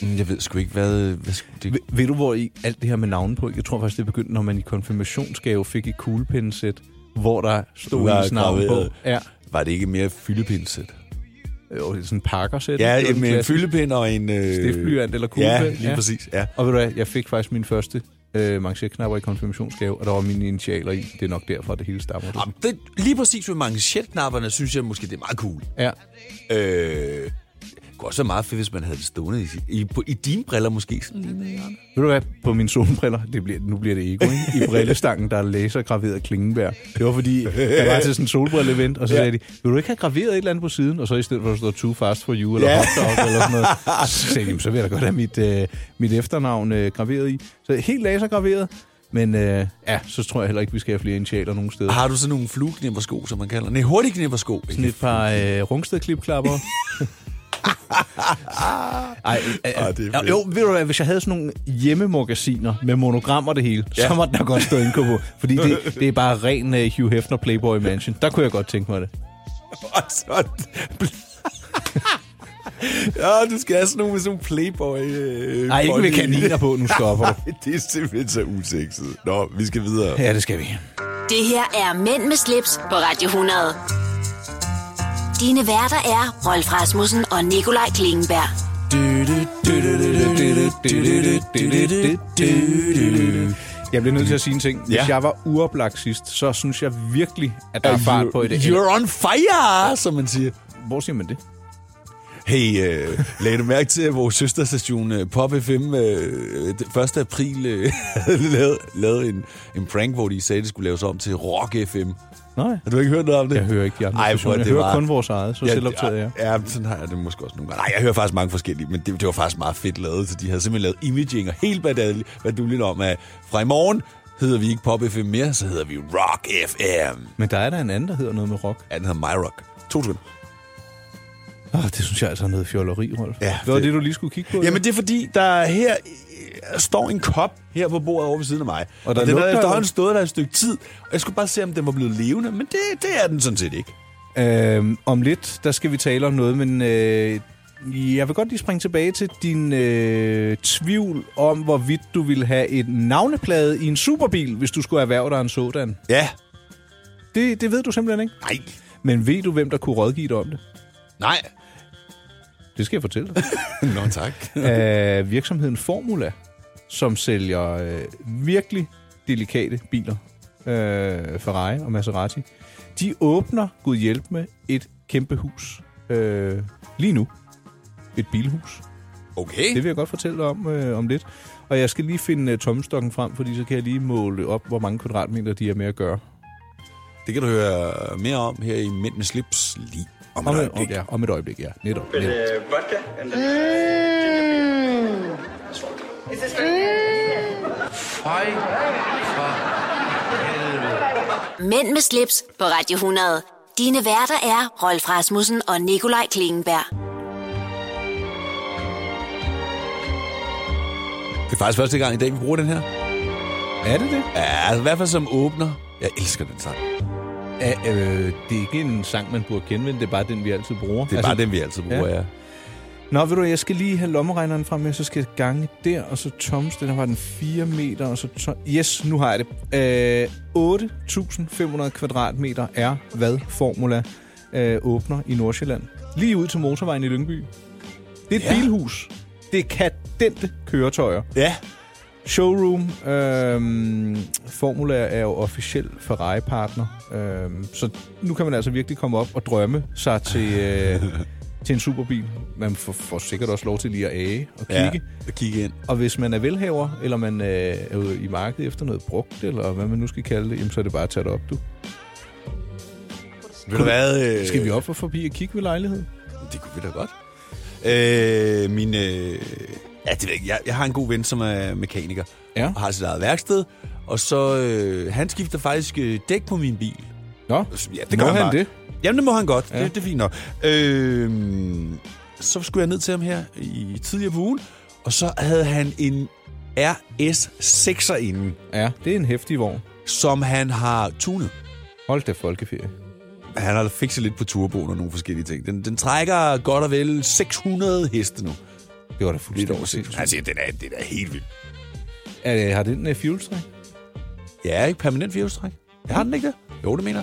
Speaker 2: Mm, Jeg ved sgu ikke, hvad... hvad sku- det...
Speaker 3: Ved, ved du, hvor i alt det her med navne på? Jeg tror faktisk, det begyndte, når man i konfirmationsgave fik et kuglepindsæt, hvor der stod
Speaker 2: Hvor der er
Speaker 3: ens navn
Speaker 2: graveret.
Speaker 3: på. Ja.
Speaker 2: Var det ikke mere fyldepindsæt?
Speaker 3: Jo, det er sådan en pakkersæt.
Speaker 2: Ja,
Speaker 3: ikke? Det er jo den
Speaker 2: med en øh,
Speaker 3: klassiske.
Speaker 2: fyldepind og en... Øh...
Speaker 3: Stiftblyant eller
Speaker 2: Ja,
Speaker 3: kuglepen.
Speaker 2: lige ja. præcis, ja.
Speaker 3: Og ved du hvad, jeg fik faktisk min første øh, manchetknapper i konfirmationsgave, og der var mine initialer i. Det er nok derfor, det hele stammer. Det.
Speaker 2: Jamen, det, lige præcis med manchetknapperne, synes jeg måske, det er meget cool.
Speaker 3: Ja.
Speaker 2: Øh, kunne også være meget fedt, hvis man havde det stående i, sit- i, på, i dine briller måske. Sådan
Speaker 3: Mm.
Speaker 2: lige med hjørnet.
Speaker 3: Ved du hvad, på mine solbriller, det bliver, nu bliver det ego, ikke? I brillestangen, der er lasergraveret klingenbær. Det var fordi, jeg var til sådan en solbrille-event, og så
Speaker 2: Ja.
Speaker 3: ja. sagde de, vil du ikke have graveret et eller andet på siden? Og så i stedet for at stå too fast for you, eller
Speaker 2: Ja.
Speaker 3: ja. hot dog, eller sådan noget, så sagde de, "Jamen, så vil jeg da godt have mit, øh, mit efternavn øh, graveret i. Så helt lasergraveret, men øh, ja, så tror jeg heller ikke, vi skal have flere initialer nogen steder.
Speaker 2: Har du sådan nogle flueknippersko, som man kalder? Nej, hurtigknippersko.
Speaker 3: Sådan et par øh, rungsted-klipklapper. Ej, øh,
Speaker 2: Ej, Ah, det er
Speaker 3: øh, jo, ved du hvad, hvis jeg havde sådan nogle hjemmemagasiner med monogrammer og det hele, ja. så måtte der godt stå indkå på. Fordi det, det er bare ren øh, Hugh Hefner Playboy Mansion. Der kunne jeg godt tænke mig det.
Speaker 2: Og så... ja, du skal have sådan nogle med sådan nogle playboy... Øh,
Speaker 3: Nej, ikke med
Speaker 2: bolde i.
Speaker 3: kaniner på, nu stopper du.
Speaker 2: Ej, det er simpelthen så usekset. Nå, vi skal videre.
Speaker 3: Ja, det skal vi.
Speaker 1: Det her er Mænd med slips på Radio 100. Dine værter er Rolf Rasmussen og Nikolaj Klingenberg.
Speaker 3: Jeg bliver nødt til at sige en ting. Hvis
Speaker 2: Ja.
Speaker 3: jeg var uoplagt sidst, så synes jeg virkelig, at der er fart på i det.
Speaker 2: You're on fire, som man siger.
Speaker 3: Hvor siger man det?
Speaker 2: Hey, øh, lagde du mærke til, at vores søsterstation øh, Pop FM øh, den 1. april øh, lavede, lavede en, en prank, hvor de sagde, at det skulle laves om til Rock FM?
Speaker 3: Nej.
Speaker 2: Har du ikke hørt noget om det?
Speaker 3: Jeg hører ikke de andre
Speaker 2: Ej,
Speaker 3: stationer.
Speaker 2: hvor
Speaker 3: Jeg
Speaker 2: det
Speaker 3: hører
Speaker 2: var...
Speaker 3: kun vores eget, så selvoptaget er jeg.
Speaker 2: Ja, ja, sådan har jeg det måske også nogle gange. Nej, jeg hører faktisk mange forskellige, men det, det var faktisk meget fedt lavet, så de havde simpelthen lavet imaging og helt badal- baduljen om, at fra i morgen hedder vi ikke Pop FM mere, så hedder vi Rock FM.
Speaker 3: Men der er der en anden, der hedder noget med rock.
Speaker 2: Ja, den hedder My Rock. To sekunder.
Speaker 3: Oh, det synes jeg altså er noget fjolleri, Rolf.
Speaker 2: Ja,
Speaker 3: det var
Speaker 2: det-
Speaker 3: det, du lige skulle kigge på.
Speaker 2: Jamen, det er fordi, der her øh, står en kop her på bordet over ved siden af mig. Og, der
Speaker 3: der
Speaker 2: og den har
Speaker 3: lugter-
Speaker 2: efterhånden stået der et stykke tid, og jeg skulle bare se, om den var blevet levende, men det, det er den sådan set ikke.
Speaker 3: Øhm, om lidt, der skal vi tale om noget, men øh, jeg vil godt lige springe tilbage til din øh, tvivl om, hvorvidt du ville have et navneplade i en superbil, hvis du skulle erhverve dig en sådan.
Speaker 2: Ja.
Speaker 3: Det, det ved du simpelthen ikke.
Speaker 2: Nej.
Speaker 3: Men ved du, hvem der kunne rådgive dig om det?
Speaker 2: Nej.
Speaker 3: Det skal jeg fortælle dig.
Speaker 2: Nå, tak.
Speaker 3: øh, virksomheden Formula, som sælger øh, virkelig delikate biler, øh, Ferrari og Maserati, de åbner, Gud hjælp med, et kæmpe hus øh, lige nu. Et bilhus.
Speaker 2: Okay.
Speaker 3: Det vil jeg godt fortælle dig om øh, om lidt. Og jeg skal lige finde øh, tommestokken frem, fordi så kan jeg lige måle op, hvor mange kvadratmeter de er med at gøre.
Speaker 2: Det kan du høre mere om her i Mænd med slips lige om et
Speaker 3: Om, om,
Speaker 2: øjeblik.
Speaker 3: ja, om et øjeblik, ja. Netop. netop.
Speaker 5: uh, vodka and then
Speaker 1: Mænd med slips på Radio 100. Dine værter er Rolf Rasmussen og Nikolaj Klingenberg.
Speaker 2: Det er faktisk første gang i dag, vi bruger den her.
Speaker 3: Er det det?
Speaker 2: Ja, altså, i hvert fald som åbner. Jeg elsker den sang. Det
Speaker 3: Er, øh, det er ikke en sang, man burde kende, men det er bare den, vi altid bruger.
Speaker 2: er altså, bare den, vi altid bruger, ja.
Speaker 3: ja.
Speaker 2: ja.
Speaker 3: Nå, ved du, jeg skal lige have lommeregneren frem, og så skal jeg gange der, og så toms, den her var den 4 meter, og så tom... Yes, nu har jeg det. Øh, 8.500 kvadratmeter er, hvad Formula øh, åbner i Nordsjælland. Lige ud til motorvejen i Lyngby. Det er et
Speaker 2: Ja.
Speaker 3: ja. bilhus. Det er kadente køretøjer.
Speaker 2: Ja,
Speaker 3: Showroom. Øh, Formula er jo officiel Ferrari-partner. Øh, så nu kan man altså virkelig komme op og drømme sig til, øh, til en superbil. Man får, får sikkert også lov til lige at æge og kigge.
Speaker 2: ja.
Speaker 3: Ja.
Speaker 2: Og kigge ind.
Speaker 3: Og hvis man er velhaver, eller man øh, er ude i markedet efter noget brugt, eller hvad man nu skal kalde det, jamen, så er det bare at tage det op, du.
Speaker 2: Ved du hvad? Øh,
Speaker 3: Skal vi op og forbi og kigge ved lejligheden?
Speaker 2: Det kunne vi da godt. Øh, min, øh, ja, det ved jeg, ikke. jeg, jeg har en god ven, som er mekaniker.
Speaker 3: Ja.
Speaker 2: Og har sit eget værksted. Og så, øh, han skifter faktisk øh, dæk på min bil.
Speaker 3: Nå,
Speaker 2: Ja,
Speaker 3: Må han
Speaker 2: bare.
Speaker 3: det?
Speaker 2: Jamen, det må han godt. Ja.
Speaker 3: Ja.
Speaker 2: Det, det er fint nok. Øh, så skulle jeg ned til ham her i tidligere på ugen, og så havde han en RS6'er inden,
Speaker 3: ja, det er en hæftig vogn.
Speaker 2: som han har tunet.
Speaker 3: Hold da folkeferie.
Speaker 2: Han har fikset lidt på turboen og nogle forskellige ting. Den, den trækker godt og vel 600 heste nu.
Speaker 3: Det var da
Speaker 2: Lidt
Speaker 3: fuldstændig
Speaker 2: over 600.
Speaker 3: sindssygt.
Speaker 2: Altså, den er, den er helt vild.
Speaker 3: Er, det- har den uh, fuelstræk?
Speaker 2: Ja, ikke permanent virustræk. Jeg har den ikke det? Jo, det mener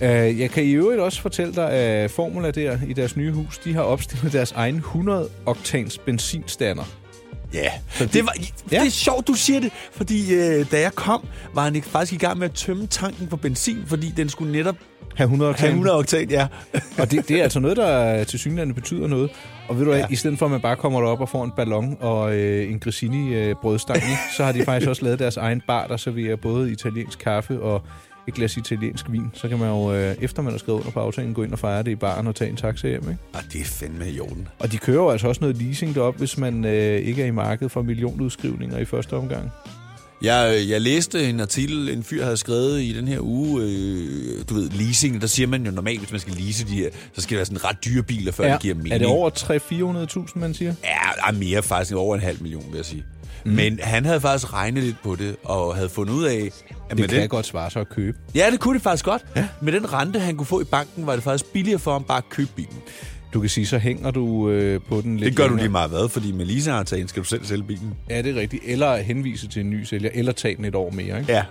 Speaker 2: jeg.
Speaker 3: Øh, Jeg kan i øvrigt også fortælle dig, at Formula der i deres nye hus, de har opstillet deres egen 100-oktans benzinstander.
Speaker 2: Ja, det, var,
Speaker 3: Ja.
Speaker 2: det er sjovt, du siger det, fordi øh, da jeg kom, var han ikke faktisk i gang med at tømme tanken på benzin, fordi den skulle netop
Speaker 3: Have 100
Speaker 2: Han
Speaker 3: oktan.
Speaker 2: 100 oktan, ja.
Speaker 3: Og det, det er altså noget, der til synligheden betyder noget. Og ved du hvad, ja. i stedet for at man bare kommer derop og får en ballon og øh, en grissini-brødstang, så har de faktisk også lavet deres egen bar, der serverer både italiensk kaffe og et glas italiensk vin. Så kan man jo, øh, efter man har skrevet under på aftalen, gå ind og fejre det i baren og tage en taxa hjem. Ikke?
Speaker 2: Og det er fandme i orden.
Speaker 3: Og de kører jo altså også noget leasing derop, hvis man øh, ikke er i markedet for millionudskrivninger i første omgang.
Speaker 2: Jeg, øh, jeg læste en artikel, en fyr havde skrevet i den her uge, øh, du ved, leasing, der siger man jo normalt, hvis man skal lease de her, så skal det være sådan ret dyre biler, før ja. det giver mening.
Speaker 3: er det over 300-400.000, man siger?
Speaker 2: Ja, er mere faktisk over en halv million, vil jeg sige. Mm. Men han havde faktisk regnet lidt på det, og havde fundet ud af... At
Speaker 3: Det kan godt svare sig at købe.
Speaker 2: Ja, det kunne det faktisk godt. Ja. Med den rente, han kunne få i banken, var det faktisk billigere for ham bare at købe bilen.
Speaker 3: Du kan sige, så hænger du øh, på den lidt
Speaker 2: Det gør du
Speaker 3: længere.
Speaker 2: lige meget hvad, fordi med leasingaftagen skal du selv sælge bilen.
Speaker 3: Ja, det er rigtigt. Eller henvise til en ny sælger, eller tage den et år mere. Ikke?
Speaker 2: Ja.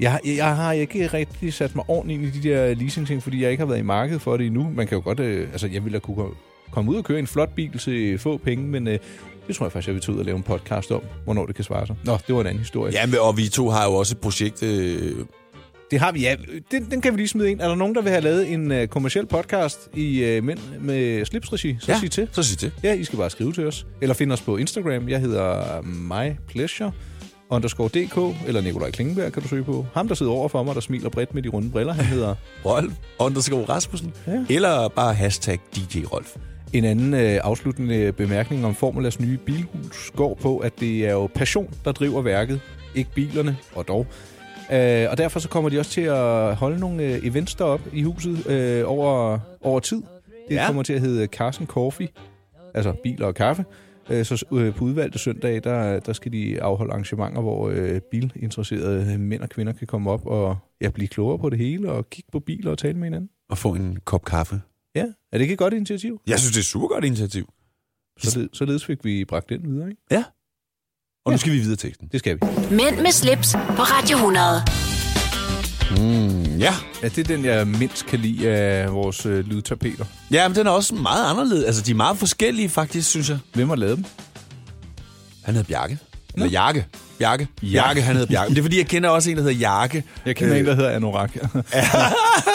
Speaker 3: Jeg, jeg, jeg har ikke rigtig sat mig ordentligt ind i de der leasing-ting, fordi jeg ikke har været i markedet for det endnu. Man kan jo godt... Øh, altså, jeg ville da kunne komme- komme ud og køre i en flot bil til få penge, men øh, det tror jeg faktisk, jeg vil tage ud og lave en podcast om, hvornår det kan svare sig. Nå, det var en anden historie.
Speaker 2: Ja, men- og vi to har jo også et projekt... Øh,
Speaker 3: Det har vi, ja. Den, den kan vi lige smide ind. Er der nogen, der vil have lavet en øh, kommersiel podcast i øh, Mænd med slipsregi, så
Speaker 2: ja,
Speaker 3: sig til.
Speaker 2: Så sig til.
Speaker 3: Ja, I skal bare skrive til os. Eller find os på Instagram. Jeg hedder mypleasure underscore dk, eller Nikolaj Klingenberg kan du søge på. Ham, der sidder over for mig, der smiler bredt med de runde briller, han hedder
Speaker 2: Rolf underskov Rasmussen.
Speaker 3: Ja.
Speaker 2: Ja. Eller bare hashtag DJ Rolf.
Speaker 3: En anden øh, afsluttende bemærkning om Formulas nye bilhus går på, at det er jo passion, der driver værket, ikke bilerne, og dog. Øh, og derfor så kommer de også til at holde nogle øh, events derop i huset øh, over, over tid. Det ja.
Speaker 2: Ja.
Speaker 3: kommer til at hedde Carson Coffee, altså biler og kaffe. Øh, så øh, på udvalgte søndag, der, der skal de afholde arrangementer, hvor øh, bilinteresserede mænd og kvinder kan komme op og ja, blive klogere på det hele, og kigge på biler og tale med hinanden.
Speaker 2: Og få en kop kaffe.
Speaker 3: Ja, er det ikke et godt initiativ?
Speaker 2: Jeg synes, det er et super godt initiativ.
Speaker 3: Således, således fik vi bragt den videre, ikke?
Speaker 2: Ja. Og nu skal vi videre til teksten.
Speaker 3: Det skal vi.
Speaker 1: Mænd med slips på Radio 100.
Speaker 2: Ja.
Speaker 3: Ja, det er den, jeg mindst kan lide af vores øh, lydtapeter.
Speaker 2: Ja, men den er også meget anderledes. Altså, de er meget forskellige, faktisk, synes jeg.
Speaker 3: Hvem har lavet dem?
Speaker 2: Han hedder Bjarke. Eller Jakke. Bjarke. Bjarke, han hedder Bjarke. Men det er, fordi jeg kender også en, der hedder Jakke.
Speaker 3: Jeg kender øh. en, der hedder Anorak.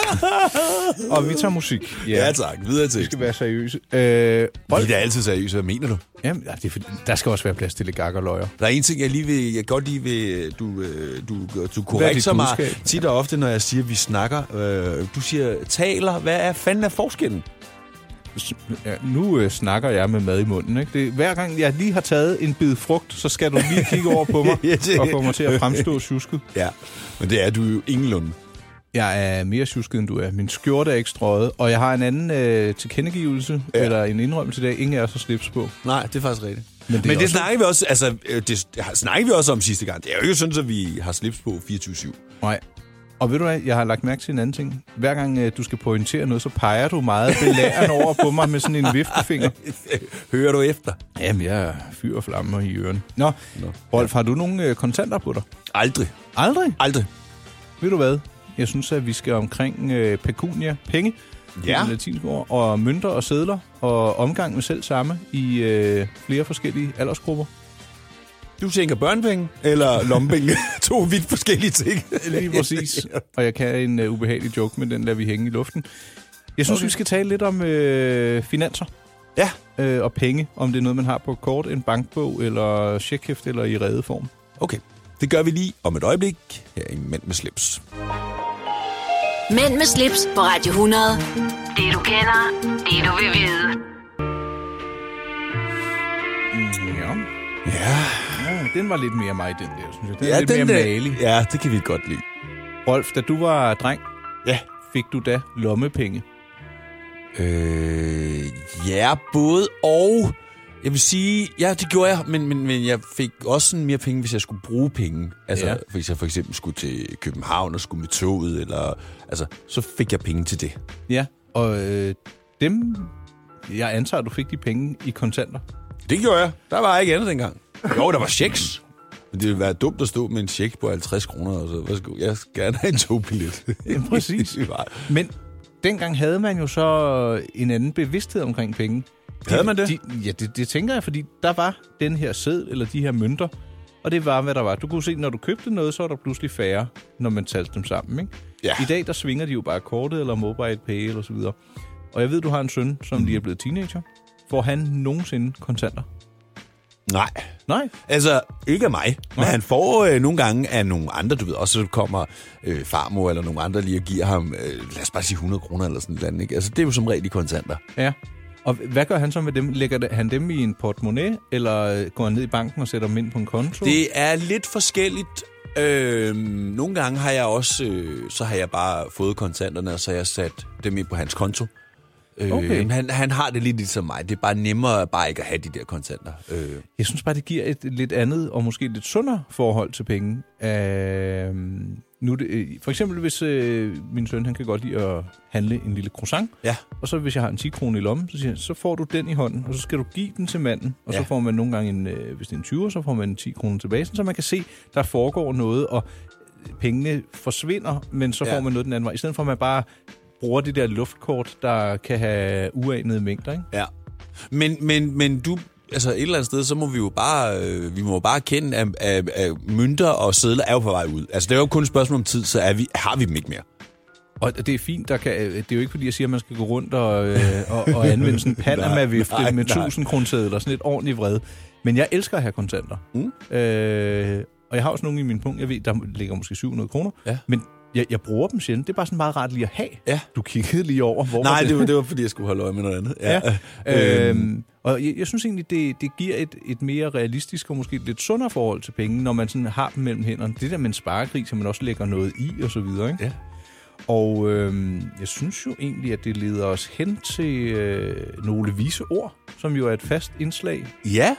Speaker 3: og vi tager musik. altså.
Speaker 2: Ja, tak. Videre til.
Speaker 3: Vi skal være seriøse. Øh, Rolf,
Speaker 2: Vi er altid seriøse. Hvad mener du?
Speaker 3: jamen, ja, det er fordi, der skal også være plads til lidt gak og løjer.
Speaker 2: Der er en ting, jeg lige vil, jeg godt lige vil, du, øh, du, du
Speaker 3: dit
Speaker 2: korrekter mig
Speaker 3: budskab?
Speaker 2: tit og ofte, når jeg siger, at vi snakker. Øh, du siger, taler. Hvad er fanden er forskellen?
Speaker 3: S- Ja, nu øh, snakker jeg med mad i munden. Ikke? Det, er- hver gang jeg lige har taget en bid frugt, så skal du lige kigge over på mig
Speaker 2: Ja, det-
Speaker 3: og få mig til at fremstå sjusket.
Speaker 2: Ja, men det er du jo ingenlunde.
Speaker 3: Jeg er mere sjusket, end du er. Min skjorte er ikke strøget, og jeg har en anden øh, tilkendegivelse, ja. eller en indrømmelse i dag, ingen af os har slips på.
Speaker 2: Nej, det er faktisk rigtigt. Men
Speaker 3: det
Speaker 2: det,
Speaker 3: er
Speaker 2: Men det
Speaker 3: også-
Speaker 2: snakker vi også, altså, øh, det snakker vi også om sidste gang. Det er jo ikke sådan, at vi har slips på 24-7.
Speaker 3: Nej. Og ved du hvad, jeg har lagt mærke til en anden ting. Hver gang øh, du skal pointere noget, så peger du meget belærende over på mig med sådan en viftefinger.
Speaker 2: Hører du efter?
Speaker 3: Jamen, jeg fyrer flammer i ørerne. Nå, Nå. Rolf, har du nogle øh, kontanter på dig?
Speaker 2: Aldrig.
Speaker 3: Aldrig.
Speaker 2: Aldrig.
Speaker 3: Ved du hvad? Jeg synes, at vi skal omkring øh, pecunia, penge,
Speaker 2: Ja.
Speaker 3: det latinske ord, og mønter og sedler, og omgang med selv samme i øh, flere forskellige aldersgrupper.
Speaker 2: Du tænker børnepenge eller lommepenge. to vidt forskellige ting.
Speaker 3: Lige præcis. Og jeg kan en uh, ubehagelig joke, men den lader vi hænge i luften. Jeg synes, okay. vi skal tale lidt om øh, finanser
Speaker 2: Ja.
Speaker 3: øh, og penge. Om det er noget, man har på kort, en bankbog, eller checkhæft, eller i redeform.
Speaker 2: Okay, det gør vi lige om et øjeblik her i Mænd med slips.
Speaker 1: Mænd med slips på Radio 100. Det du kender, det du vil vide.
Speaker 3: Ja.
Speaker 2: Ja,
Speaker 3: ja. Den var lidt mere mig, den der, synes jeg. Den ja,
Speaker 2: ja
Speaker 3: er lidt den mere
Speaker 2: der-
Speaker 3: malig.
Speaker 2: øh, Ja, det kan vi godt lide.
Speaker 3: Rolf, da du var dreng,
Speaker 2: Ja.
Speaker 3: fik du da lommepenge.
Speaker 2: Øh, ja, både og. Jeg vil sige, ja, det gjorde jeg, men, men, men jeg fik også sådan mere penge, hvis jeg skulle bruge penge. Altså,
Speaker 3: Ja.
Speaker 2: ja. hvis jeg for eksempel skulle til København og skulle med toget, eller, altså, så fik jeg penge til det.
Speaker 3: Ja. Og øh, dem... Jeg antager, at du fik de penge i kontanter.
Speaker 2: Det gjorde jeg. Der var ikke andet dengang. Jo, der var checks. Men det ville være dumt at stå med en check på 50 kroner, og så, værsgo, jeg skal gerne have en togbillet.
Speaker 3: Ja, præcis.
Speaker 2: Det var-
Speaker 3: Men dengang havde man jo så en anden bevidsthed omkring penge.
Speaker 2: Havde man det?
Speaker 3: De, ja, det, det tænker jeg, fordi der var den her sæd, eller de her mønter, og det var, hvad der var. Du kunne se, når du købte noget, så var der pludselig færre, når man talte dem sammen. Ikke?
Speaker 2: Ja.
Speaker 3: I dag, der svinger de jo bare kortet eller mobile pay eller så videre. Og jeg ved, du har en søn, som lige er blevet teenager. Får han nogensinde kontanter?
Speaker 2: Nej.
Speaker 3: Nej.
Speaker 2: Altså, ikke af mig, men han får øh, nogle gange af nogle andre, du ved, også så kommer øh, farmor eller nogle andre lige og giver ham, øh, lad os bare sige 100 kroner eller sådan noget, ikke? Altså, det er jo som regel i kontanter.
Speaker 3: Ja. Og hvad gør han så med dem? Lægger det- han dem i en portemonnaie, eller øh, går han ned i banken og sætter dem ind på en konto?
Speaker 2: Det er lidt forskelligt. Øh, nogle gange har jeg også, øh, så har jeg bare fået kontanterne, og så har jeg sat dem ind på hans konto. Øh,
Speaker 3: Okay.
Speaker 2: men han, han har det lidt ligesom mig. Det er bare nemmere bare ikke at have de der kontanter. Øh,
Speaker 3: Jeg synes bare, det giver et lidt andet og måske lidt sundere forhold til penge. Øh, nu er det, øh, for eksempel hvis øh, min søn han kan godt lide at handle en lille croissant,
Speaker 2: ja.
Speaker 3: og så hvis jeg har en 10 kroner i lommen, så, siger han, så får du den i hånden, og så skal du give den til manden, og ja.
Speaker 2: Ja.
Speaker 3: så får man nogle gange, en, øh, hvis det er en 20, så får man en 10 kroner tilbage, sådan så man kan se, der foregår noget, og øh, pengene forsvinder, men så
Speaker 2: Ja.
Speaker 3: ja. får man noget den anden vej. I stedet for, at man bare bruger det der luftkort, der kan have uanede mængder, ikke?
Speaker 2: Ja. Men, men, men du, altså et eller andet sted, så må vi jo bare, øh, vi må jo bare kende, at, at, at mønter og sædler er jo på vej ud. Altså det er jo kun et spørgsmål om tid, så er vi, har vi dem ikke mere.
Speaker 3: Og det er fint, der kan, øh, det er jo ikke fordi, jeg siger, at man skal gå rundt og, øh, og, og anvende sådan en Panama-vifte
Speaker 2: Nej, nej,
Speaker 3: med
Speaker 2: nej.
Speaker 3: 1000 kroner sådan et ordentligt vred. Men jeg elsker at have kontanter. Mm. Øh, og jeg har også nogle i min punkt, jeg ved, der ligger måske 700 kroner.
Speaker 2: Ja.
Speaker 3: Men jeg, jeg bruger dem sjældent. Det er bare sådan meget rart lige at have.
Speaker 2: Ja.
Speaker 3: Du kiggede lige over, hvor var
Speaker 2: Nej, det var, det var fordi, jeg skulle holde øje med noget andet. Ja.
Speaker 3: Ja.
Speaker 2: Øh,
Speaker 3: Øhm, og jeg, jeg synes egentlig, det, det giver et, et mere realistisk og måske lidt sundere forhold til penge, når man sådan har dem mellem hænderne. Det der med en sparekrig, som man også lægger noget i og så videre. Ikke?
Speaker 2: Ja.
Speaker 3: Og øhm, jeg synes jo egentlig, at det leder os hen til øh, nogle vise ord, som jo er et fast indslag.
Speaker 2: ja,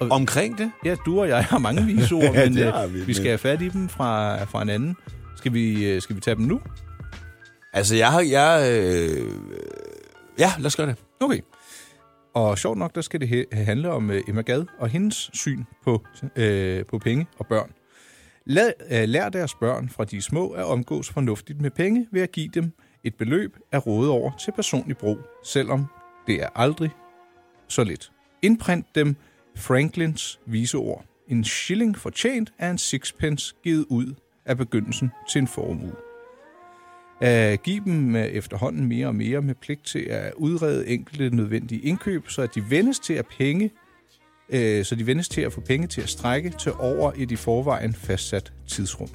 Speaker 2: omkring det.
Speaker 3: Ja, du og jeg har mange vise ord,
Speaker 2: Ja,
Speaker 3: men
Speaker 2: det har
Speaker 3: øh,
Speaker 2: vi,
Speaker 3: vi,
Speaker 2: men-
Speaker 3: vi skal have fat i dem fra, fra en anden. Skal vi, øh, skal vi tage dem nu?
Speaker 2: Altså jeg har, jeg, øh, ja, lad os gøre det.
Speaker 3: Okay. Og sjovt nok, der skal det he- handle om øh, Emma Gad og hendes syn på, øh, på penge og børn. Lad, øh, lær deres børn fra de er små at omgås fornuftigt med penge ved at give dem et beløb at råde over til personlig brug, selvom det er aldrig så lidt. Indprint dem Franklins viseord. En shilling fortjent er en sixpence givet ud af begyndelsen til en formue. At give dem øh, efterhånden mere og mere med pligt til at udrede enkelte nødvendige indkøb, så at de vendes til at penge, øh, så de vendes til at få penge til at strække til over et i forvejen fastsat tidsrum.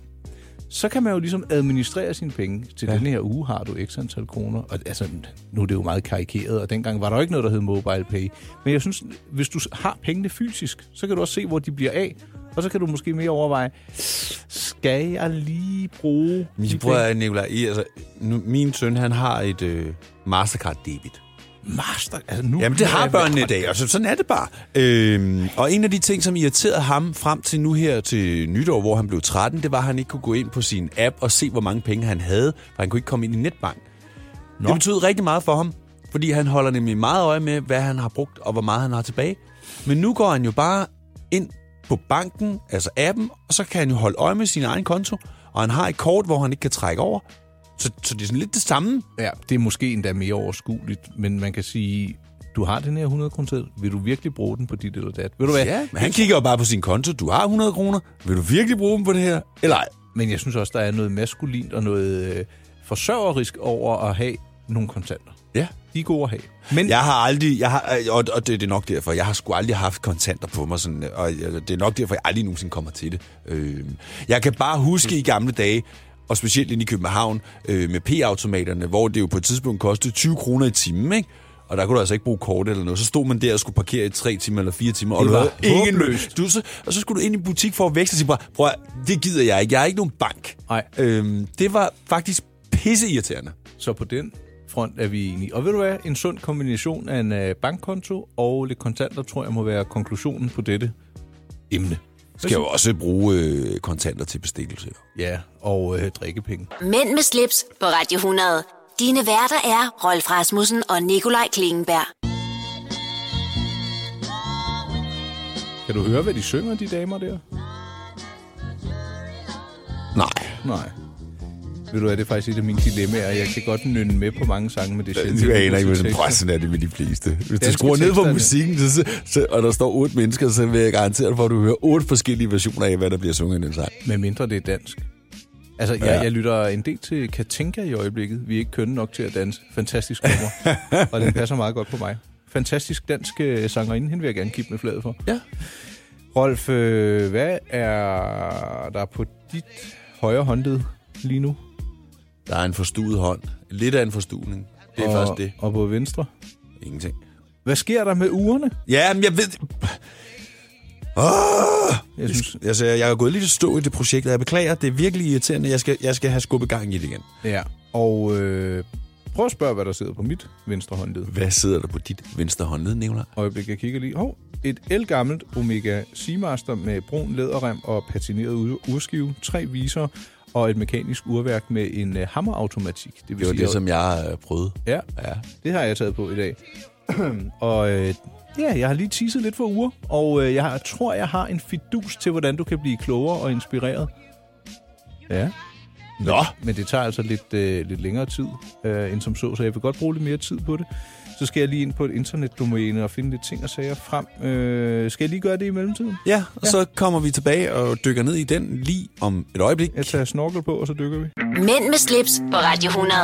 Speaker 3: Så kan man jo ligesom administrere sine penge. Til ja. denne her uge har du x antal kroner. Og altså, nu er det jo meget karikeret, og dengang var der jo ikke noget, der hed mobile pay. Men jeg synes, hvis du har pengene fysisk, så kan du også se, hvor de bliver af. Og så kan du måske mere overveje, skal jeg lige bruge... de
Speaker 2: Min bror Nicolaj, I, altså, nu, min søn, han har et øh, Mastercard debit.
Speaker 3: Master, altså nu...
Speaker 2: Jamen, det har
Speaker 3: Ja,
Speaker 2: børnene i
Speaker 3: og-
Speaker 2: dag, og så, sådan er det bare. Øhm, og en af de ting, som irriterede ham frem til nu her til nytår, hvor han blev 13, det var, at han ikke kunne gå ind på sin app og se, hvor mange penge han havde, for han kunne ikke komme ind i netbank. Nå. Det betød rigtig meget for ham, fordi han holder nemlig meget øje med, hvad han har brugt og hvor meget han har tilbage. Men nu går han jo bare ind på banken, altså appen, og så kan han jo holde øje med sin egen konto, og han har et kort, hvor han ikke kan trække over. Så, så det er sådan lidt det samme.
Speaker 3: Ja, det er måske endda mere overskueligt, men man kan sige, du har den her 100 kroner til, vil du virkelig bruge den på dit eller dat? Ved du hvad?
Speaker 2: Ja, men han kigger jo bare på sin konto. Du har 100 kroner. Vil du virkelig bruge dem på det her? Eller ej?
Speaker 3: Men jeg synes også, der er noget maskulint og noget øh, forsørgerisk over at have nogle kontanter.
Speaker 2: Ja.
Speaker 3: De er gode at have. Men
Speaker 2: Jeg har aldrig, jeg har, øh, og, og det, det er nok derfor, jeg har sgu aldrig haft kontanter på mig, sådan, øh, og øh, det er nok derfor, jeg aldrig nogensinde kommer til det. Øh, jeg kan bare huske i gamle dage, og specielt inde i København, øh, med P-automaterne, hvor det jo på et tidspunkt kostede 20 kroner i timen, ikke? Og der kunne du altså ikke bruge kort eller noget. Så stod man der og skulle parkere i tre timer eller fire timer, og
Speaker 3: Det
Speaker 2: du
Speaker 3: var
Speaker 2: havde ingen
Speaker 3: håbløst.
Speaker 2: Du, så, og så skulle du ind i en butik for at vækste og sige, "Prøv- prøv at høre, det gider jeg ikke. Jeg er ikke nogen bank.
Speaker 3: Nej.
Speaker 2: Øhm, det var faktisk pisseirriterende.
Speaker 3: så på den front er vi enige. Og ved du hvad? En sund kombination af en øh, bankkonto og lidt kontanter, tror jeg må være konklusionen på dette emne.
Speaker 2: Skal jo også bruge øh, kontanter til bestikkelse.
Speaker 3: Ja, og øh, drikkepenge.
Speaker 1: Mænd med slips på Radio 100. Dine værter er Rolf Rasmussen og Nikolaj Klingenberg.
Speaker 3: Kan du høre, hvad de synger, de damer der?
Speaker 2: Nej.
Speaker 3: Nej. Ved du hvad, det er faktisk et af mine dilemmaer. Jeg kan godt nynne med på mange sange, men det er sjældent.
Speaker 2: Du aner
Speaker 3: jeg
Speaker 2: ikke,
Speaker 3: lytter
Speaker 2: hvordan
Speaker 3: til
Speaker 2: prøv,
Speaker 3: teksten.
Speaker 2: sådan er det med de fleste. Hvis du
Speaker 3: Danske
Speaker 2: skruer ned for
Speaker 3: teksterne.
Speaker 2: musikken, så, så, og der står otte mennesker, så vil jeg garantere dig for, at du hører otte forskellige versioner af, hvad der bliver sunget i den sang.
Speaker 3: Med mindre det er dansk. Altså, jeg,
Speaker 2: Ja.
Speaker 3: jeg lytter en del til Katinka i øjeblikket. Vi er ikke kønne nok til at danse. Fantastisk nummer. og den passer meget godt på mig. Fantastisk dansk øh, sangerinde. Hende vil jeg gerne kippe med fladet for.
Speaker 2: Ja.
Speaker 3: Rolf, øh, hvad er der på dit højre håndled lige nu?
Speaker 2: Der er en forstuet hånd. Lidt af en forstuning. Det er
Speaker 3: og,
Speaker 2: og... først det.
Speaker 3: Og på venstre?
Speaker 2: Ingenting.
Speaker 3: Hvad sker der med ugerne?
Speaker 2: Ja, men jeg ved... Oh!
Speaker 3: Jeg synes,
Speaker 2: Altså, jeg er gået lidt i stå i det projekt, og jeg beklager. Det er virkelig irriterende. Jeg skal, jeg skal have skubbet gang i det igen.
Speaker 3: ja. Og øh, prøv at spørge, hvad der sidder på mit venstre håndled.
Speaker 2: Hvad sidder der på dit venstre håndled, Nicolaj?
Speaker 3: Øjeblik, jeg kigger lige. Hov, et elgammelt Omega Seamaster med brun læderrem og patineret ur- urskive, tre viser og et mekanisk urværk med en øh, hammerautomatik. vil
Speaker 2: Det var
Speaker 3: sige,
Speaker 2: det, som jeg øh, prøvede.
Speaker 3: Ja,
Speaker 2: Ja.
Speaker 3: det har jeg taget på i dag. og øh, ja, jeg har lige tisset lidt for uger, og øh, jeg har- tror, jeg har en fidus til, hvordan du kan blive klogere og inspireret. Ja.
Speaker 2: Nå,
Speaker 3: Men det tager altså lidt, øh, lidt længere tid øh, end som så, så jeg vil godt bruge lidt mere tid på det. Så skal jeg lige ind på et internetdomæne og finde lidt ting og sager frem. Øh, skal jeg lige gøre det i mellemtiden?
Speaker 2: Ja, og ja. så kommer vi tilbage og dykker ned i den lige om et øjeblik.
Speaker 3: Jeg tager snorkel på, og så dykker vi.
Speaker 1: Mænd med slips på Radio 100.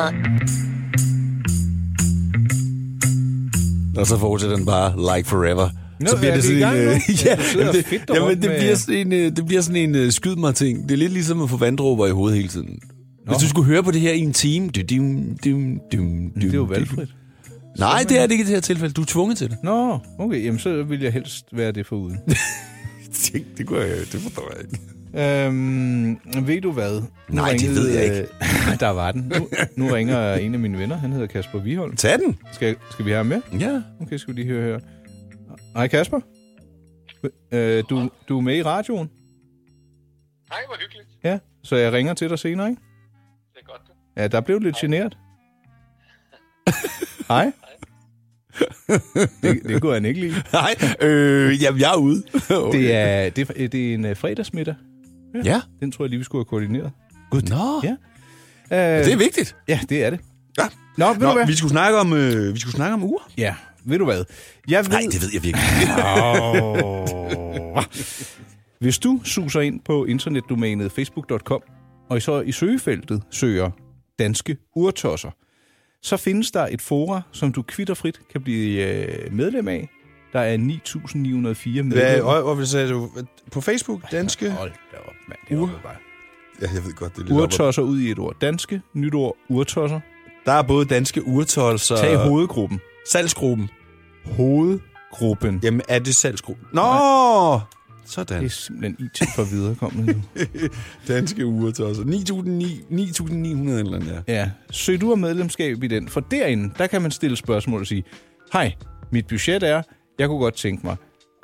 Speaker 2: Og så fortsætter den bare like forever.
Speaker 3: Nå,
Speaker 2: så
Speaker 3: er vi i gang nu?
Speaker 2: øh,
Speaker 3: Ja,
Speaker 2: ja,
Speaker 3: du sidder
Speaker 2: jamen,
Speaker 3: og
Speaker 2: det,
Speaker 3: fedter
Speaker 2: jamen,
Speaker 3: rundt
Speaker 2: det,
Speaker 3: med-
Speaker 2: bliver sådan en, øh, det bliver sådan en uh, skyd mig ting. Det er lidt ligesom at få vanddråber i hovedet hele tiden. Nå. Hvis du skulle høre på det her i en time... Du, dum, dum, dum,
Speaker 3: Det er jo valgfrit.
Speaker 2: Nej, det er det ikke i det her tilfælde. Du er tvunget til det.
Speaker 3: Nå, okay, jamen så vil jeg helst være det foruden.
Speaker 2: Det, kunne jeg, det forstår jeg ikke.
Speaker 3: Øhm, ved du hvad? Nu
Speaker 2: Nej, det ved jeg ikke.
Speaker 3: Øh, der var den. Nu, nu ringer en af mine venner, han hedder Kasper Viholm.
Speaker 2: Tag den.
Speaker 3: Skal, skal vi have ham med?
Speaker 2: Ja.
Speaker 3: Okay, skal vi lige høre her. Hej Kasper. Øh, du, du er med i radioen?
Speaker 5: Hej, hvor hyggeligt.
Speaker 3: Ja, så jeg ringer til dig senere, ikke?
Speaker 5: Det er godt, du.
Speaker 3: Ja, der blev du lidt generet. Hej. Det, det kunne han ikke lide.
Speaker 2: Nej, øh, jamen, jeg er ude. okay.
Speaker 3: Det er, det, er- det er en øh, fredagsmiddag.
Speaker 2: Ja.
Speaker 3: Den tror jeg lige, vi skulle have koordineret.
Speaker 2: Gud, Nå,
Speaker 3: Ja.
Speaker 2: ja.
Speaker 3: Øh,
Speaker 2: det er vigtigt.
Speaker 3: ja, det er det.
Speaker 2: Ja.
Speaker 3: Nå, ved Nå,
Speaker 2: Nå,
Speaker 3: du hvad?
Speaker 2: vi skulle snakke om, øh, vi skulle snakke om uger.
Speaker 3: Ja, ved du hvad? Jeg ved...
Speaker 2: Nej, det ved jeg virkelig ikke.
Speaker 3: Åh. Hvis du suser ind på internetdomænet facebook.com, og så i søgefeltet søger danske urtosser, så findes der et fora, som du kvitterfrit kan blive øh, medlem af. Der er 9.904
Speaker 2: Hvad,
Speaker 3: medlemmer.
Speaker 2: og, hvorfor sagde du? På Facebook, danske...
Speaker 3: Hold da op, mand. Det er
Speaker 2: Ur-
Speaker 3: oppe bare.
Speaker 2: Ja, jeg ved godt, det er
Speaker 3: Urtosser ud i et ord. Danske, nyt ord, urtosser. Øh,
Speaker 2: Der er både danske urtolser...
Speaker 3: Tag hovedgruppen.
Speaker 2: Salgsgruppen.
Speaker 3: Hovedgruppen.
Speaker 2: Jamen, er det salgsgruppen? Nå!
Speaker 3: Det er
Speaker 2: Sådan.
Speaker 3: simpelthen IT for viderekommende nu.
Speaker 2: Danske urtolser. 9.900 eller noget, ja.
Speaker 3: Ja, søg du om medlemskab i den, for derinde, der kan man stille spørgsmål og sige, hej, mit budget er, jeg kunne godt tænke mig.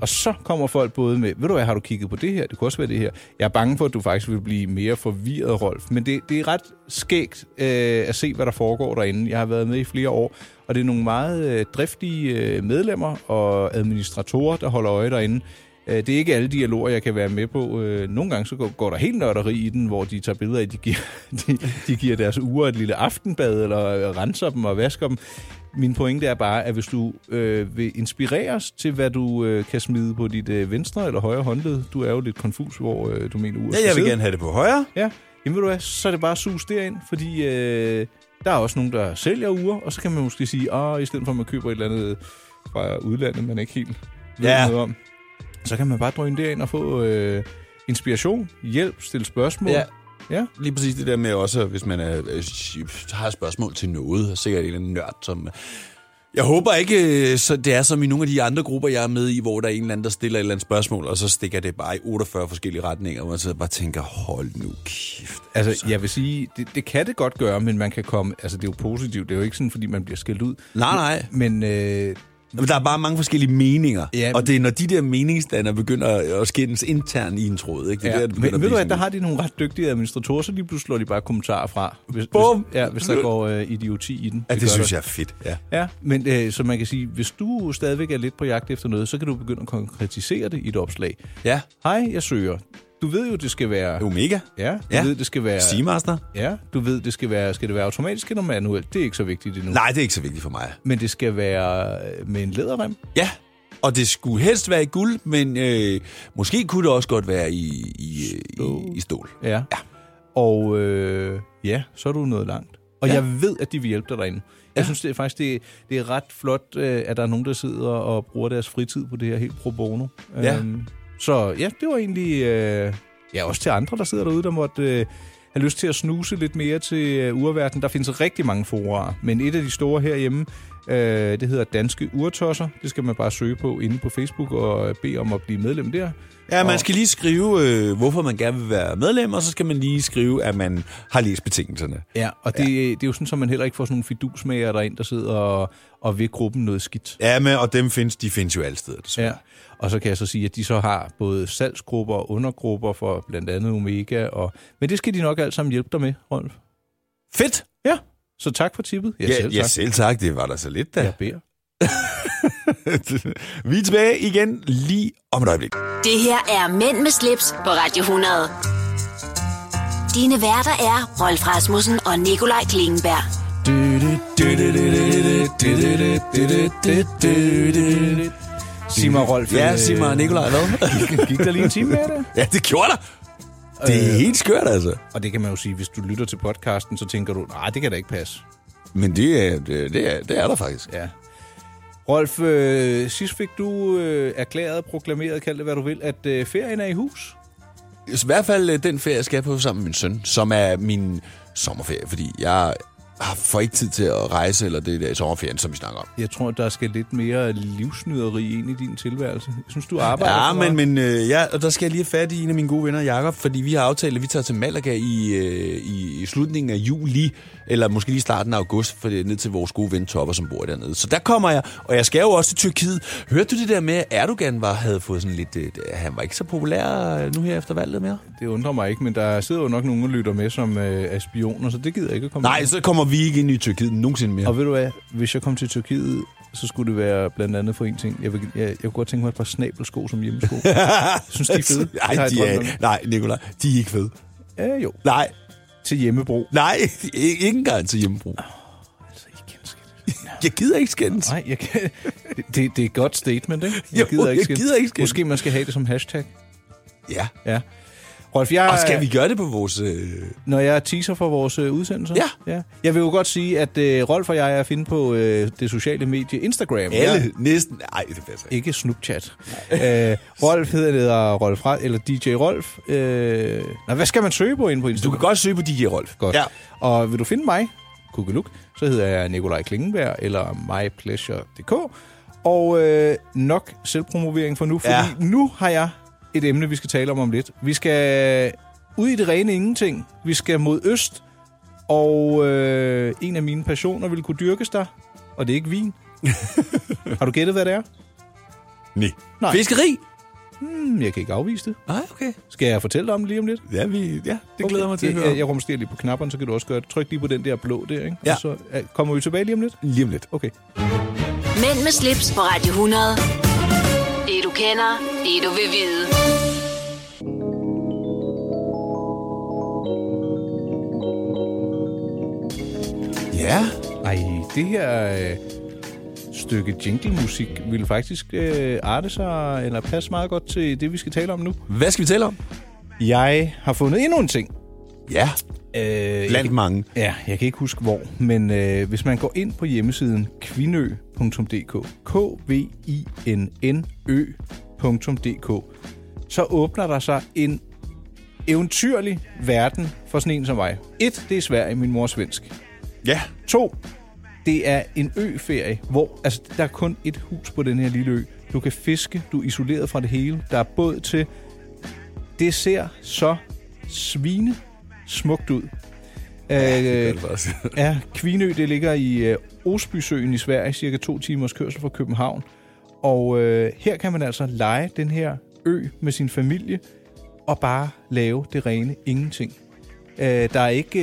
Speaker 3: Og så kommer folk både med, ved du hvad, har du kigget på det her? Det kunne også være det her. Jeg er bange for, at du faktisk vil blive mere forvirret, Rolf. Men det, det er ret skægt øh, at se, hvad der foregår derinde. Jeg har været med i flere år, og det er nogle meget øh, driftige øh, medlemmer og administratorer, der holder øje derinde. Øh, Det er ikke alle dialoger, jeg kan være med på. Øh, Nogle gange så går- går der helt nørderi i den, hvor de tager billeder af, de giver, de, de giver deres uger et lille aftenbad, eller øh, renser dem og vasker dem. Min pointe er bare, at hvis du øh, vil inspireres til, hvad du øh, kan smide på dit øh, venstre eller højre håndled, du er jo lidt konfus, hvor øh, du mener uret
Speaker 2: Ja,
Speaker 3: skal
Speaker 2: jeg vil
Speaker 3: sidde.
Speaker 2: gerne have det på højre.
Speaker 3: Ja, jamen ved du hvad, så er det bare sus derind, fordi øh, der er også nogen, der sælger uger, og så kan man måske sige, at i stedet for at man køber et eller andet fra udlandet, man ikke helt ved
Speaker 2: Ja.
Speaker 3: noget om, så kan man bare drøne derind og få øh, inspiration, hjælp, stille spørgsmål.
Speaker 2: Ja.
Speaker 3: Ja.
Speaker 2: Lige præcis det der med også, hvis man er, øh, har spørgsmål til noget, og sikkert en eller anden nørd, som... øh, Jeg håber ikke, øh, så det er som i nogle af de andre grupper, jeg er med i, hvor der er en eller anden, der stiller et eller andet spørgsmål, og så stikker det bare i 48 forskellige retninger, og man sidder og bare tænker, hold nu kæft.
Speaker 3: Altså, jeg vil sige, det, det kan det godt gøre, men man kan komme... Altså, det er jo positivt. Det er jo ikke sådan, fordi man bliver skældt ud.
Speaker 2: Nej, nej.
Speaker 3: Men øh,
Speaker 2: Men der er bare mange forskellige meninger.
Speaker 3: Ja.
Speaker 2: Ja, og det er, når de der meningsdannere begynder at skændes internt i en tråd. Ikke? Det er
Speaker 3: Ja,
Speaker 2: der, det begynder
Speaker 3: men ved du
Speaker 2: at
Speaker 3: at der
Speaker 2: blive
Speaker 3: har de nogle ret dygtige administratorer, så lige pludselig slår de bare kommentarer fra, hvis,
Speaker 2: Bum!
Speaker 3: hvis, ja, hvis der går øh, idioti i den.
Speaker 2: sådan- Ja, det
Speaker 3: gør
Speaker 2: synes
Speaker 3: der.
Speaker 2: jeg er fedt. Ja.
Speaker 3: Ja, men øh, så man kan sige, hvis du stadigvæk er lidt på jagt efter noget, så kan du begynde at konkretisere det i et opslag.
Speaker 2: ja.
Speaker 3: Hej, jeg søger Du ved jo, det skal være...
Speaker 2: Omega?
Speaker 3: Ja, du
Speaker 2: Ja.
Speaker 3: ved, det skal være...
Speaker 2: Seamaster?
Speaker 3: Ja, du ved, det skal være... Skal det være automatisk eller manuelt? Det er ikke så vigtigt endnu.
Speaker 2: Nej, det er ikke så vigtigt for mig.
Speaker 3: Men det skal være øh, med en læderrem.
Speaker 2: Ja, og det skulle helst være i guld, men øh, måske kunne det også godt være i, i, stål. i, i stål.
Speaker 3: Ja. ja. Og øh, ja, så er du nået langt. Og
Speaker 2: Ja.
Speaker 3: ja. jeg ved, at de vil hjælpe dig derinde. Jeg ja. synes det er faktisk, det, det er ret flot, øh, at der er nogen, der sidder og bruger deres fritid på det her helt pro bono.
Speaker 2: Ja.
Speaker 3: Øhm, så ja, det var egentlig... Øh, ja, også til andre, der sidder derude, der måtte øh, have lyst til at snuse lidt mere til øh, urverden. Der findes rigtig mange forer, men et af de store herhjemme, øh, det hedder Danske Urtosser. Det skal man bare søge på inde på Facebook og øh, bede om at blive medlem der.
Speaker 2: Ja, man
Speaker 3: Og-
Speaker 2: skal lige skrive, øh, hvorfor man gerne vil være medlem, og så skal man lige skrive, at man har læst betingelserne.
Speaker 3: Ja, og det, ja. det er jo sådan, at man heller ikke får sådan nogle fidusmager derind, der sidder og, og vil gruppen noget skidt.
Speaker 2: Ja, men, og dem findes, de findes jo alle steder. Ja.
Speaker 3: Ja. Og så kan jeg så sige, at de så har både salgsgrupper og undergrupper for blandt andet Omega. Og, men det skal de nok alt sammen hjælpe dig med, Rolf.
Speaker 2: Fedt!
Speaker 3: Ja, så tak for tippet. Ja,
Speaker 2: Ja,
Speaker 3: selv tak.
Speaker 2: ja, selv tak. Det var der så lidt, da.
Speaker 3: Jeg beder.
Speaker 2: Vi er tilbage igen lige om et øjeblik.
Speaker 1: Det her er Mænd med slips på Radio 100. Dine værter er Rolf Rasmussen og Nikolaj Klingenberg.
Speaker 3: Sig mig, Rolf.
Speaker 2: Ja, sig mig, øh, Nikolaj, hvad?
Speaker 3: Gik, gik der lige en time med det?
Speaker 2: ja, det gjorde der. Det er helt skørt, altså.
Speaker 3: Og det kan man jo sige, hvis du lytter til podcasten, så tænker du, nej, det kan da ikke passe.
Speaker 2: Men det, er- det, det, er, det er der faktisk.
Speaker 3: Ja. Rolf, øh, sidst fik du øh, erklæret, proklameret, kald det hvad du vil, at øh, ferien er i hus.
Speaker 2: I hvert fald øh, den ferie, jeg skal på sammen med min søn, som er min sommerferie, fordi jeg har får ikke tid til at rejse, eller det der i sommerferien, som vi snakker om.
Speaker 3: Jeg tror, der skal lidt mere livsnyderi ind i din tilværelse. Jeg synes, du arbejder
Speaker 2: Ja,
Speaker 3: for meget.
Speaker 2: men, men øh, ja, og der skal jeg lige have fat i en af mine gode venner, Jakob, fordi vi har aftalt, at vi tager til Malaga i, øh, i, i slutningen af juli, eller måske lige starten af august, for det er ned til vores gode ven Topper, som bor dernede. Så der kommer jeg, og jeg skal jo også til Tyrkiet. Hørte du det der med, at Erdogan var, havde fået sådan lidt... Øh, han var ikke så populær øh, nu her efter valget mere?
Speaker 3: Det undrer mig ikke, men der sidder jo nok nogen, der lytter med, som øh, er spioner, så det gider jeg ikke at komme
Speaker 2: Nej,
Speaker 3: ind.
Speaker 2: så kommer vi ikke ind i Tyrkiet nogensinde mere.
Speaker 3: Og ved du hvad, hvis jeg kom til Tyrkiet, så skulle det være blandt andet for en ting. Jeg, vil, jeg, jeg kunne godt tænke mig et par snabelsko som hjemmesko. jeg synes, de er fede. Det har
Speaker 2: Nej,
Speaker 3: jeg
Speaker 2: de
Speaker 3: drømt
Speaker 2: er, nej, Nicolaj, de er ikke fede.
Speaker 3: om. Ja, jo.
Speaker 2: Nej,
Speaker 3: Til hjemmebrug.
Speaker 2: nej, i- ikke engang til hjemmebrug.
Speaker 3: Altså, I kender sgu det.
Speaker 2: Jeg gider ikke skændes.
Speaker 3: Nej, jeg kan... det, det er et godt statement, ikke?
Speaker 2: Jo, jeg gider ikke skændes.
Speaker 3: Måske man skal have det som hashtag.
Speaker 2: Ja.
Speaker 3: Ja. Rolf, jeg,
Speaker 2: Og skal vi gøre det på vores... Øh...
Speaker 3: når jeg teaser for vores øh, udsendelser?
Speaker 2: Ja.
Speaker 3: ja. Jeg vil jo godt sige, at øh, Rolf og jeg er at finde på øh, det sociale medie Instagram.
Speaker 2: Alle,
Speaker 3: Jeg,
Speaker 2: næsten. Nej, det passer ikke.
Speaker 3: ikke Snapchat. øh, Rolf hedder Rolf Ra- eller DJ Rolf. Øh, nå, hvad skal man søge på inde på
Speaker 2: Du
Speaker 3: Instagram?
Speaker 2: kan godt søge på DJ Rolf.
Speaker 3: Godt.
Speaker 2: Ja.
Speaker 3: Og vil du finde mig, Kugeluk, så hedder jeg Nikolaj Klingenberg eller mypleasure.dk. Og øh, nok selvpromovering for nu, fordi
Speaker 2: Ja.
Speaker 3: ja. nu har jeg et emne, vi skal tale om om lidt. Vi skal ud i det rene ingenting. Vi skal mod øst, og øh, en af mine passioner vil kunne dyrkes der, og det er ikke vin. har du gættet, hvad det er?
Speaker 2: Nej.
Speaker 3: Nej.
Speaker 2: Fiskeri?
Speaker 3: Hmm, jeg kan ikke afvise det.
Speaker 2: Nej, okay.
Speaker 3: Skal jeg fortælle dig om det lige om lidt?
Speaker 2: Ja, vi, ja det glæder jeg mig til at høre.
Speaker 3: Jeg, jeg rumsterer lige på knapperne, så kan du også gøre det. Tryk lige på den der blå der, ikke?
Speaker 2: Ja.
Speaker 3: Og så øh, kommer vi tilbage lige om lidt.
Speaker 2: Lige om lidt.
Speaker 3: Okay.
Speaker 1: Mænd med slips på Radio 100. Det du kender, det du vil vide.
Speaker 2: Ja.
Speaker 3: Ej, det her øh, stykke jinglemusik ville faktisk øh, arte sig, eller passe meget godt til det, vi skal tale om nu.
Speaker 2: Hvad skal vi tale om?
Speaker 3: Jeg har fundet endnu en ting.
Speaker 2: Ja.
Speaker 3: Øh,
Speaker 2: Blandt mange.
Speaker 3: Ja, jeg kan ikke huske hvor, men øh, hvis man går ind på hjemmesiden kvinø.dk, k v i n n ø.dk, så åbner der sig en eventyrlig verden for sådan en som mig. Et, det er Sverige, min mor er svensk.
Speaker 2: Ja.
Speaker 3: To, det er en øferie, hvor altså, der er kun et hus på den her lille ø. Du kan fiske, du er isoleret fra det hele, der er båd til. Det ser så svine smukt ud. Ja, øh, ja, Kvinø, det ligger i øh, Osbysøen i Sverige, cirka to timers kørsel fra København. Og øh, her kan man altså lege den her ø med sin familie og bare lave det rene ingenting. Øh, der er ikke,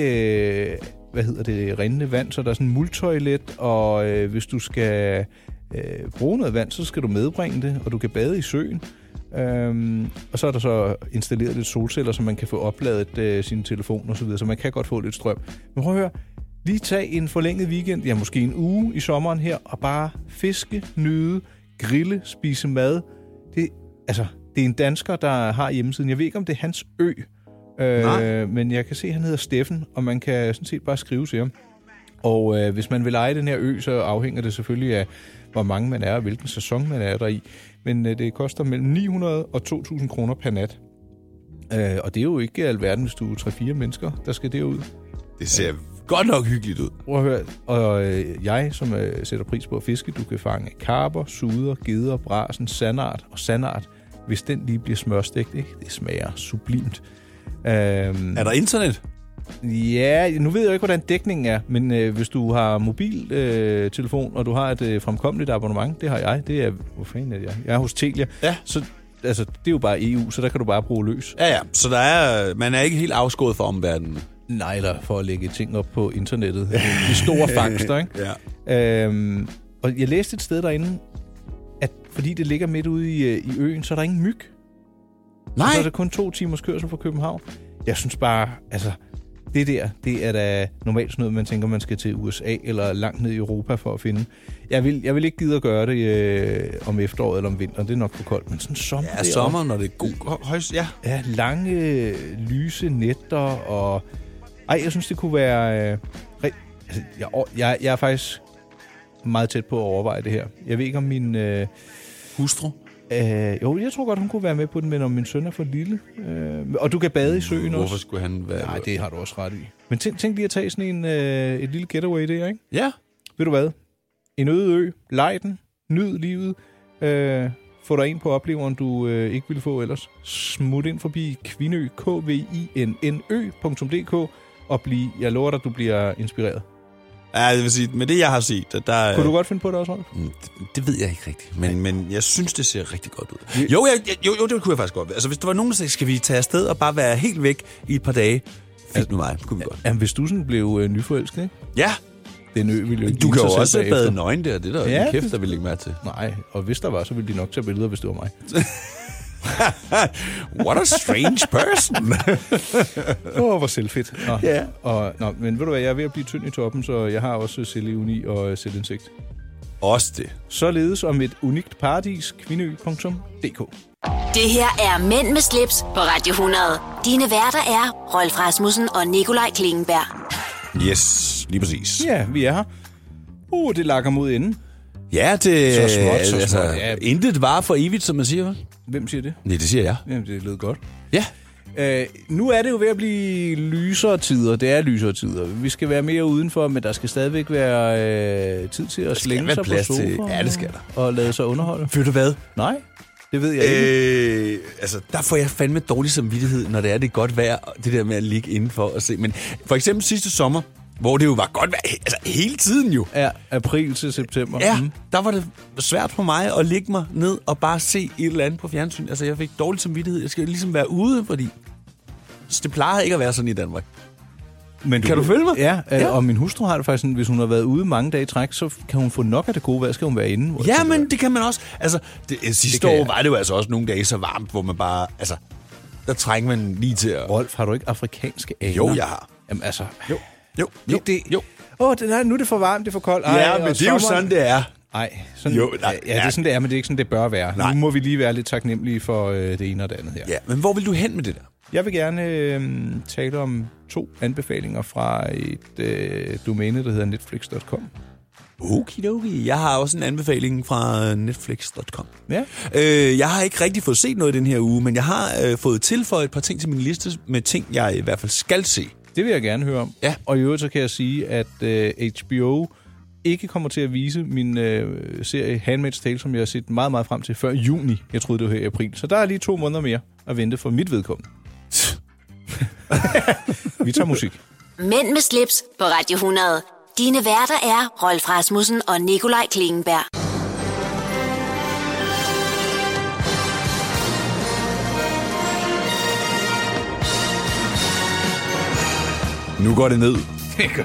Speaker 3: øh, hvad hedder det, rindende vand, så der er sådan en multoilet, og øh, hvis du skal øh, bruge noget vand, så skal du medbringe det, og du kan bade i søen. Øhm, og så er der så installeret lidt solceller, så man kan få opladet øh, sin telefon og så videre, så man kan godt få lidt strøm. Men prøv at høre, lige tag en forlænget weekend, ja måske en uge i sommeren her, og bare fiske, nyde, grille, spise mad. Det, altså, det er en dansker, der har hjemmesiden. Jeg ved ikke, om det er hans ø,
Speaker 2: Nej.
Speaker 3: øh, men jeg kan se, at han hedder Steffen, og man kan sådan set bare skrive til ham. Og øh, hvis man vil eje den her ø, så afhænger det selvfølgelig af, hvor mange man er, og hvilken sæson man er der i. Men øh, det koster mellem 900 og 2.000 kroner per nat. Øh, og det er jo ikke alverden, hvis du er 3-4 mennesker, der skal derud.
Speaker 2: Det ser godt nok hyggeligt ud.
Speaker 3: Prøv at høre, og øh, jeg, som øh, sætter pris på at fiske, du kan fange karper, suder, geder, brasen, sandart og sandart. Hvis den lige bliver smørstegt, ikke? det smager sublimt. Øhm,
Speaker 2: Er der internet?
Speaker 3: Ja, nu ved jeg jo ikke, hvordan dækningen er, men øh, hvis du har mobiltelefon, øh, telefon, og du har et øh, fremkommeligt abonnement, det har jeg, det er, hvor fanden er jeg? Jeg er hos Telia,
Speaker 2: Ja.
Speaker 3: så altså, det er jo bare EU, så der kan du bare bruge løs.
Speaker 2: Ja, ja. Så der er, man er ikke helt afskåret fra omverdenen.
Speaker 3: Nej, eller for at lægge ting op på internettet. De store fangster, ikke?
Speaker 2: Ja.
Speaker 3: Øhm, og jeg læste et sted derinde, at fordi det ligger midt ude i, øh, i øen, så er der ingen myg. Og
Speaker 2: Nej,
Speaker 3: Så er der kun to timers kørsel fra København. Jeg synes bare, altså, det der, det er da normalt sådan noget, man tænker, man skal til USA eller langt ned i Europa for at finde. Jeg vil, jeg vil ikke gide at gøre det øh, om efteråret eller om vinteren, det er nok for koldt, men sådan sommer.
Speaker 2: ja,
Speaker 3: deroppe.
Speaker 2: sommer, når det er god højst. Ja.
Speaker 3: Ja, lange, øh, lyse nætter, og... Ej, jeg synes, det kunne være... Øh, re- altså, jeg, jeg, jeg er faktisk meget tæt på at overveje det her. Jeg ved ikke, om min... Øh,
Speaker 2: Hustru.
Speaker 3: øh, jo, jeg tror godt, hun kunne være med på den, men om min søn er for lille. Øh, og du kan bade i søen
Speaker 2: Hvorfor
Speaker 3: også.
Speaker 2: skulle han være...
Speaker 3: Nej, det har du også ret i. Men tænk, tænk lige at tage sådan en, øh, et lille getaway der, ikke?
Speaker 2: Ja.
Speaker 3: Ved du hvad? En øde ø, lej den, nyd livet, øh, få dig ind på opleveren, du øh, ikke ville få ellers. Smut ind forbi kvinø, kvinnø.dk og bliv, jeg lover dig, du bliver inspireret.
Speaker 2: Ja, det vil sige, med det, jeg har set, der- der...
Speaker 3: Kunne du godt finde på det også, Rolf?
Speaker 2: Mm, Det, det ved jeg ikke rigtigt, men, men jeg synes, det ser rigtig godt ud. Jo, jeg, jeg- jo, jo, det kunne jeg faktisk godt. Altså, hvis der var nogen, der sagde, skal vi tage afsted og bare være helt væk i et par dage? Fint med mig, kunne vi godt.
Speaker 3: Jamen, hvis du sådan blev øh, nyforelsket, ikke?
Speaker 2: Ja,
Speaker 3: Den ø ville jo ikke
Speaker 2: du
Speaker 3: vise
Speaker 2: kan
Speaker 3: sig
Speaker 2: jo
Speaker 3: selv
Speaker 2: også
Speaker 3: bagefter.
Speaker 2: bade nøgen der. Det er der
Speaker 3: Ja,
Speaker 2: ja, en
Speaker 3: det-
Speaker 2: kæft, der vil lægge mærke til.
Speaker 3: Nej, og hvis der var, så ville de nok tage billeder, hvis det var mig.
Speaker 2: What a strange person.
Speaker 3: Åh, oh, hvor selvfedt. Nå.
Speaker 2: Ja.
Speaker 3: Og, nå, men ved du hvad, jeg er ved at blive tynd i toppen, så jeg har også selvevni og øh, selvindsigt.
Speaker 2: også det.
Speaker 3: Således om et unikt paradis, kvindeø.dk.
Speaker 1: Det her er Mænd med slips på Radio 100. Dine værter er Rolf Rasmussen og Nikolaj Klingenberg.
Speaker 2: Yes, lige præcis.
Speaker 3: Ja, vi er her. Uh, det lakker mod enden.
Speaker 2: Ja, det...
Speaker 3: Så småt, så småt, ja.
Speaker 2: ja. Intet var for evigt, som man siger, vel?
Speaker 3: Hvem siger det?
Speaker 2: Nej, det siger jeg.
Speaker 3: Jamen, det lød godt.
Speaker 2: Ja.
Speaker 3: Øh, nu er det jo ved at blive lysere tider. Det er lysere tider. Vi skal være mere udenfor, men der skal stadigvæk være øh, tid til at slænge
Speaker 2: være
Speaker 3: sig på
Speaker 2: plads til-
Speaker 3: sofaen.
Speaker 2: ja, det skal der.
Speaker 3: Og lade sig underholde.
Speaker 2: Ved du hvad?
Speaker 3: Nej, det ved jeg ikke.
Speaker 2: Øh, altså, der får jeg fandme dårlig samvittighed, når det er det er godt vejr, og det der med at ligge indenfor og se. Men for eksempel sidste sommer, hvor det jo var godt vejr, altså hele tiden jo.
Speaker 3: Er april til september.
Speaker 2: Ja,
Speaker 3: Mm.
Speaker 2: der var det svært for mig at ligge mig ned og bare se et eller andet på fjernsyn. Altså, jeg fik dårlig samvittighed. Jeg skal ligesom være ude, fordi så det plejer ikke at være sådan i Danmark.
Speaker 3: Men
Speaker 2: Kan du følge mig?
Speaker 3: Ja, øh,
Speaker 2: Ja.
Speaker 3: og min hustru har det faktisk sådan, hvis hun har været ude mange dage i træk, så kan hun få nok af det gode vejr, skal hun være inde. hvor jeg
Speaker 2: Ja,
Speaker 3: tænker,
Speaker 2: men det kan man også. Altså, det, øh, sidste
Speaker 3: kan
Speaker 2: det år
Speaker 3: jeg.
Speaker 2: var det jo altså også nogle dage så varmt, hvor man bare, altså, der trænger man lige til at...
Speaker 3: Rolf, har du ikke afrikanske aner?
Speaker 2: Jo, jeg har.
Speaker 3: Jamen altså...
Speaker 2: Jo, jo,
Speaker 3: Jo, det, jo. Åh, oh, nej, nu er det for varmt, det er for koldt. Ej,
Speaker 2: Ja, men det er jo sådan, det er.
Speaker 3: Nej, sådan, jo,
Speaker 2: Jo,
Speaker 3: nej,
Speaker 2: nej,
Speaker 3: ja, det er
Speaker 2: ja.
Speaker 3: sådan, det er, men det er ikke sådan, det bør være. Nej.
Speaker 2: Nej.
Speaker 3: Nu må vi lige være lidt taknemmelige for øh, det ene og det andet her.
Speaker 2: Ja, men hvor vil du hen med det der?
Speaker 3: Jeg vil gerne øh, tale om to anbefalinger fra et øh, domæne, der hedder netflix.com.
Speaker 2: Okidoki. Jeg har også en anbefaling fra øh, Netflix.com.
Speaker 3: Ja.
Speaker 2: Øh, jeg har ikke rigtig fået set noget i den her uge, men jeg har øh, fået tilføjet et par ting til min liste med ting, jeg i hvert fald skal se.
Speaker 3: Det vil jeg gerne høre om.
Speaker 2: Ja.
Speaker 3: Og i øvrigt så kan jeg sige, at øh, HBO ikke kommer til at vise min øh, serie Handmaid's Tale, som jeg har set meget, meget frem til før juni. Jeg troede, det var her i april. Så der er lige to måneder mere at vente for mit vedkommende. vi tager musik.
Speaker 1: Mænd med slips på Radio 100. Dine værter er Rolf Rasmussen og Nikolaj Klingenberg.
Speaker 2: Nu går det ned.
Speaker 3: det gør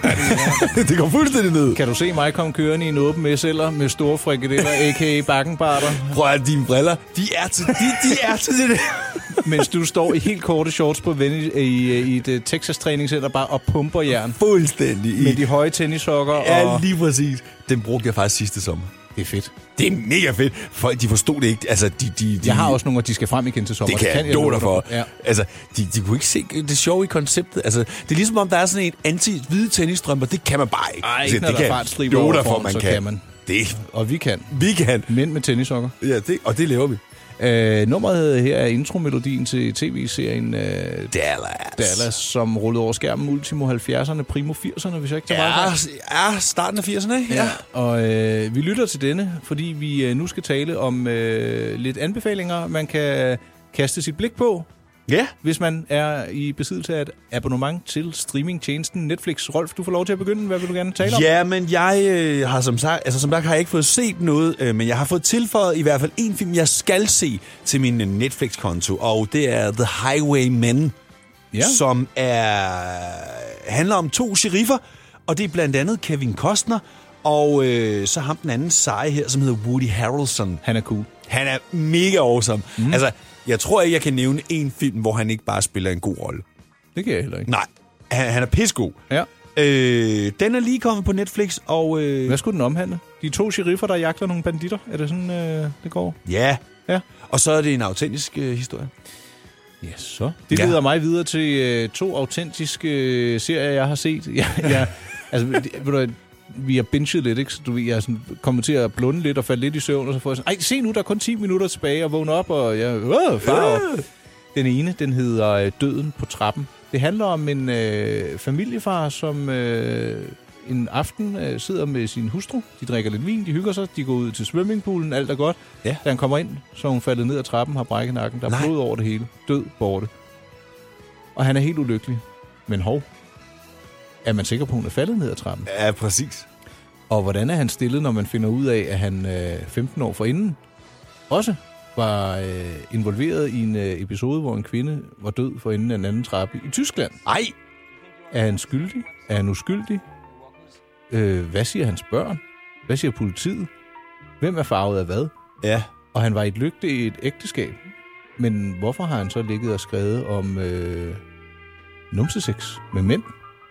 Speaker 3: det.
Speaker 2: det går fuldstændig ned.
Speaker 3: Kan du se mig komme kørende i en åben SL'er med store frikadeller, a.k.a. bakkenbarter,
Speaker 2: Prøv at dine briller, de er til, de, de er til det der.
Speaker 3: mens du står i helt korte shorts på ven i, i, i et øh, Texas træningscenter bare og pumper jern
Speaker 2: Fuldstændig. I,
Speaker 3: med de høje tennissokker
Speaker 2: ja,
Speaker 3: og...
Speaker 2: lige præcis. Den brugte jeg faktisk sidste sommer.
Speaker 3: Det er fedt.
Speaker 2: Det er mega fedt. Folk, de forstod det ikke. Altså, de, de, de,
Speaker 3: Jeg har også nogle, og de skal frem igen til sommer.
Speaker 2: Det kan jeg love dig for.
Speaker 3: Ja.
Speaker 2: Altså, de, de kunne ikke se det sjove i konceptet. Altså, det er ligesom om, der er sådan en anti-hvide tennisstrømper. Det kan man bare ikke.
Speaker 3: Ej,
Speaker 2: altså,
Speaker 3: ikke når der er fartstriber
Speaker 2: love dig
Speaker 3: overfor,
Speaker 2: for, man
Speaker 3: så
Speaker 2: kan.
Speaker 3: kan man.
Speaker 2: Det
Speaker 3: Og vi kan.
Speaker 2: vi kan.
Speaker 3: Mænd med tennissokker.
Speaker 2: Ja, det, og det laver vi.
Speaker 3: Øh, nummeret her er intromelodien til tv-serien øh,
Speaker 2: Dallas.
Speaker 3: Dallas, som rullede over skærmen Ultimo 70'erne, Primo 80'erne, hvis jeg ikke tager
Speaker 2: Ja,
Speaker 3: meget fejl.
Speaker 2: ja, starten af 80'erne, ikke? Ja.
Speaker 3: Og øh, vi lytter til denne, fordi vi øh, nu skal tale om øh, lidt anbefalinger, man kan kaste sit blik på,
Speaker 2: Ja.
Speaker 3: hvis man er i besiddelse af et abonnement til streamingtjenesten Netflix. Rolf, du får lov til at begynde. Hvad vil du gerne tale om?
Speaker 2: Ja, men jeg øh, har som sagt, altså som sagt har jeg ikke fået set noget, øh, men jeg har fået tilføjet i hvert fald en film, jeg skal se til min øh, Netflix-konto, og det er The Highwaymen. ja. som er handler om to sheriffer, og det er blandt andet Kevin Costner, og øh, så ham den anden seje her, som hedder Woody Harrelson.
Speaker 3: Han er cool.
Speaker 2: Han er mega awesome. Mm. Altså, jeg tror ikke, jeg kan nævne en film, hvor han ikke bare spiller en god rolle.
Speaker 3: Det kan jeg heller ikke.
Speaker 2: Nej, han, han er pissegod.
Speaker 3: Ja.
Speaker 2: Øh, den er lige kommet på Netflix, og øh,
Speaker 3: Hvad skulle den omhandle? De to sheriffer, der jagter nogle banditter. Er det sådan, øh, det går?
Speaker 2: ja,
Speaker 3: Ja.
Speaker 2: og så er det en autentisk øh, historie.
Speaker 3: Ja, så. Det
Speaker 2: Ja.
Speaker 3: leder mig videre til øh, to autentiske øh, serier, jeg har set. Jeg, jeg, altså, det- ved du, hvad, vi har binget lidt, ikke? Så du ved, jeg er sådan, kommet til at blunde lidt og falde lidt i søvn, og så får jeg sådan, ej, se nu, der er kun 10 minutter tilbage, og vågne op, og jeg, øh, far. Og den ene, den hedder øh, Døden på trappen. Det handler om en øh, familiefar, som øh, en aften øh, sidder med sin hustru. De drikker lidt vin, de hygger sig, de går ud til swimmingpoolen, alt er godt.
Speaker 2: Ja.
Speaker 3: Da han kommer ind, så er hun faldet ned ad trappen, har brækket nakken. Der er
Speaker 2: Nej.
Speaker 3: blod over det hele. Død borte. Og han er helt ulykkelig. Men hov, er man sikker på, at hun er faldet ned ad trappen?
Speaker 2: Ja, præcis.
Speaker 3: Og hvordan er han stillet, når man finder ud af, at han øh, 15 år forinden også var øh, involveret i en øh, episode, hvor en kvinde var død for enden af en anden trappe i Tyskland?
Speaker 2: Ej,
Speaker 3: Er han skyldig? Er han uskyldig? Øh, hvad siger hans børn? Hvad siger politiet? Hvem er farvet af hvad?
Speaker 2: ja.
Speaker 3: Og han var i et lygte i et ægteskab. Men hvorfor har han så ligget og skrevet om øh, numsesex med mænd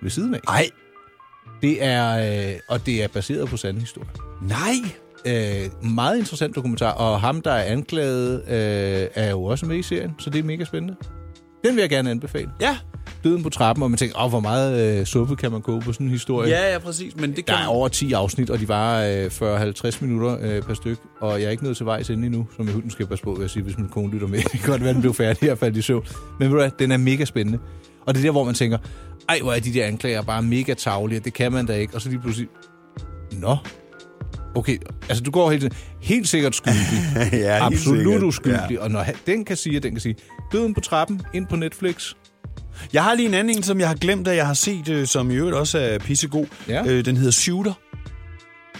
Speaker 3: ved siden af?
Speaker 2: Ej,
Speaker 3: Det er, øh, og det er baseret på sande historie.
Speaker 2: nej.
Speaker 3: Øh, meget interessant dokumentar, og ham, der er anklaget, øh, er jo også med i serien, så det er mega spændende. Den vil jeg gerne anbefale.
Speaker 2: Ja,
Speaker 3: Døden på trappen, og man tænker, åh, hvor meget øh, suppe kan man koge på sådan en historie?
Speaker 2: ja, ja, præcis. Men det
Speaker 3: Der
Speaker 2: kan
Speaker 3: er over 10 afsnit, og de var øh, 40-50 minutter øh, per styk, og jeg er ikke nået til vejs ende endnu, som jeg hunden skal passe på, vil jeg sige, hvis min kone lytter med. Det kan godt være, den blev færdig og faldt i søvn. Men ved du hvad, den er mega spændende. Og det er der, hvor man tænker, ej, hvor er de der anklager bare mega tavlige, det kan man da ikke. Og så lige pludselig, nå, okay, altså du går helt, tiden- helt sikkert skyldig.
Speaker 2: Ja, helt
Speaker 3: Absolut
Speaker 2: sikkert.
Speaker 3: uskyldig. Ja. Og når han- den kan sige, og den kan sige, døden på trappen, ind på Netflix.
Speaker 2: Jeg har lige en anden en, som jeg har glemt, at jeg har set, øh, som i øvrigt også er pissegod.
Speaker 3: Ja.
Speaker 2: Øh, den hedder Shooter.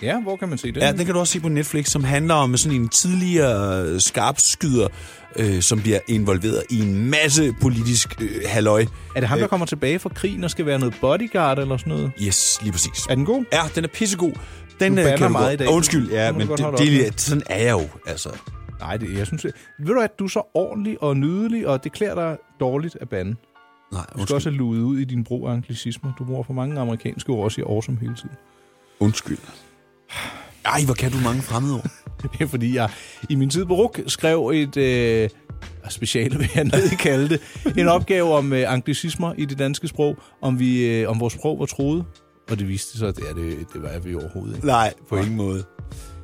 Speaker 3: Ja, hvor kan man se det?
Speaker 2: Ja, den kan du også se på Netflix, som handler om sådan en tidligere øh, skarpskyder, øh, som bliver involveret i en masse politisk øh, halløj.
Speaker 3: Er det ham,
Speaker 2: Øh.
Speaker 3: der kommer tilbage fra krigen og skal være noget bodyguard eller sådan noget?
Speaker 2: Yes, lige præcis.
Speaker 3: Er den god?
Speaker 2: Ja, den er pissegod. Den
Speaker 3: Du
Speaker 2: øh,
Speaker 3: banner
Speaker 2: kan du
Speaker 3: meget
Speaker 2: godt-
Speaker 3: i dag.
Speaker 2: Undskyld,
Speaker 3: Det
Speaker 2: ja,
Speaker 3: må du
Speaker 2: men
Speaker 3: godt
Speaker 2: det,
Speaker 3: holde op
Speaker 2: det,
Speaker 3: med.
Speaker 2: er- sådan er jeg jo, altså.
Speaker 3: Nej, det, jeg synes det. Ved du at du er så ordentlig og nydelig, og det klæder dig dårligt af banden.
Speaker 2: Nej,
Speaker 3: Du skal
Speaker 2: undskyld.
Speaker 3: også have luet ud i din brug af anglicismer. Du bruger for mange amerikanske ord og siger awesome hele tiden.
Speaker 2: undskyld. Ej, hvor kan du mange fremmedord.
Speaker 3: Det er fordi, jeg i min tid på RUK skrev et øh, speciale, vil jeg nødig kalde det, en opgave om øh, anglicismer i det danske sprog, om, vi, øh, om vores sprog var troet. Og det viste sig, at det, er det, det var vi overhovedet ikke.
Speaker 2: Nej, på ingen måde.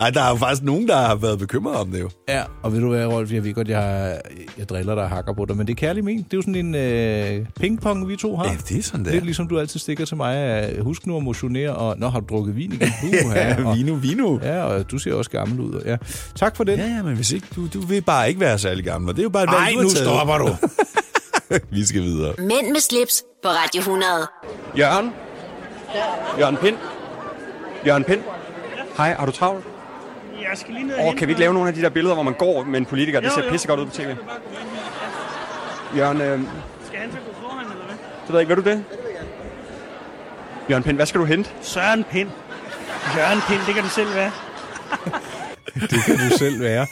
Speaker 2: Ej, der er jo faktisk nogen, der har været bekymret om det jo.
Speaker 3: Ja, og ved du hvad, Rolf, jeg ved godt, jeg, jeg driller dig og hakker på dig, men det er kærligt ment. Det er jo sådan en øh, pingpong, vi to har.
Speaker 2: Ja, det er sådan, det
Speaker 3: Lidt
Speaker 2: er.
Speaker 3: ligesom du altid stikker til mig, at husk nu at motionere, og nå, har du drukket vin igen? Uh,
Speaker 2: Ja,
Speaker 3: og,
Speaker 2: vino, vino.
Speaker 3: ja, og du ser også gammel ud. og Ja. Tak for den.
Speaker 2: Ja, ja, men hvis ikke, du, du vil bare ikke være særlig gammel, og det er jo bare et valg,
Speaker 3: Ej,
Speaker 2: du har
Speaker 3: nu
Speaker 2: taget.
Speaker 3: stopper du.
Speaker 2: Vi skal videre.
Speaker 1: Mænd med slips på Radio 100.
Speaker 6: Jørgen? Jørgen Pind? Jørgen Pind? Hej, har du travlt?
Speaker 7: Jeg skal lige ned
Speaker 6: Og kan vi ikke lave nogle af de der billeder, hvor man går med en politiker? Det ser pissegodt ud på tv. Jørgen, øh,
Speaker 7: Skal han så gå foran, eller hvad?
Speaker 6: det ved jeg ikke, ved du det? Jørgen Pind, hvad skal du hente?
Speaker 7: Søren Pind. Jørgen Pind, det kan du selv være.
Speaker 3: Det kan du selv være.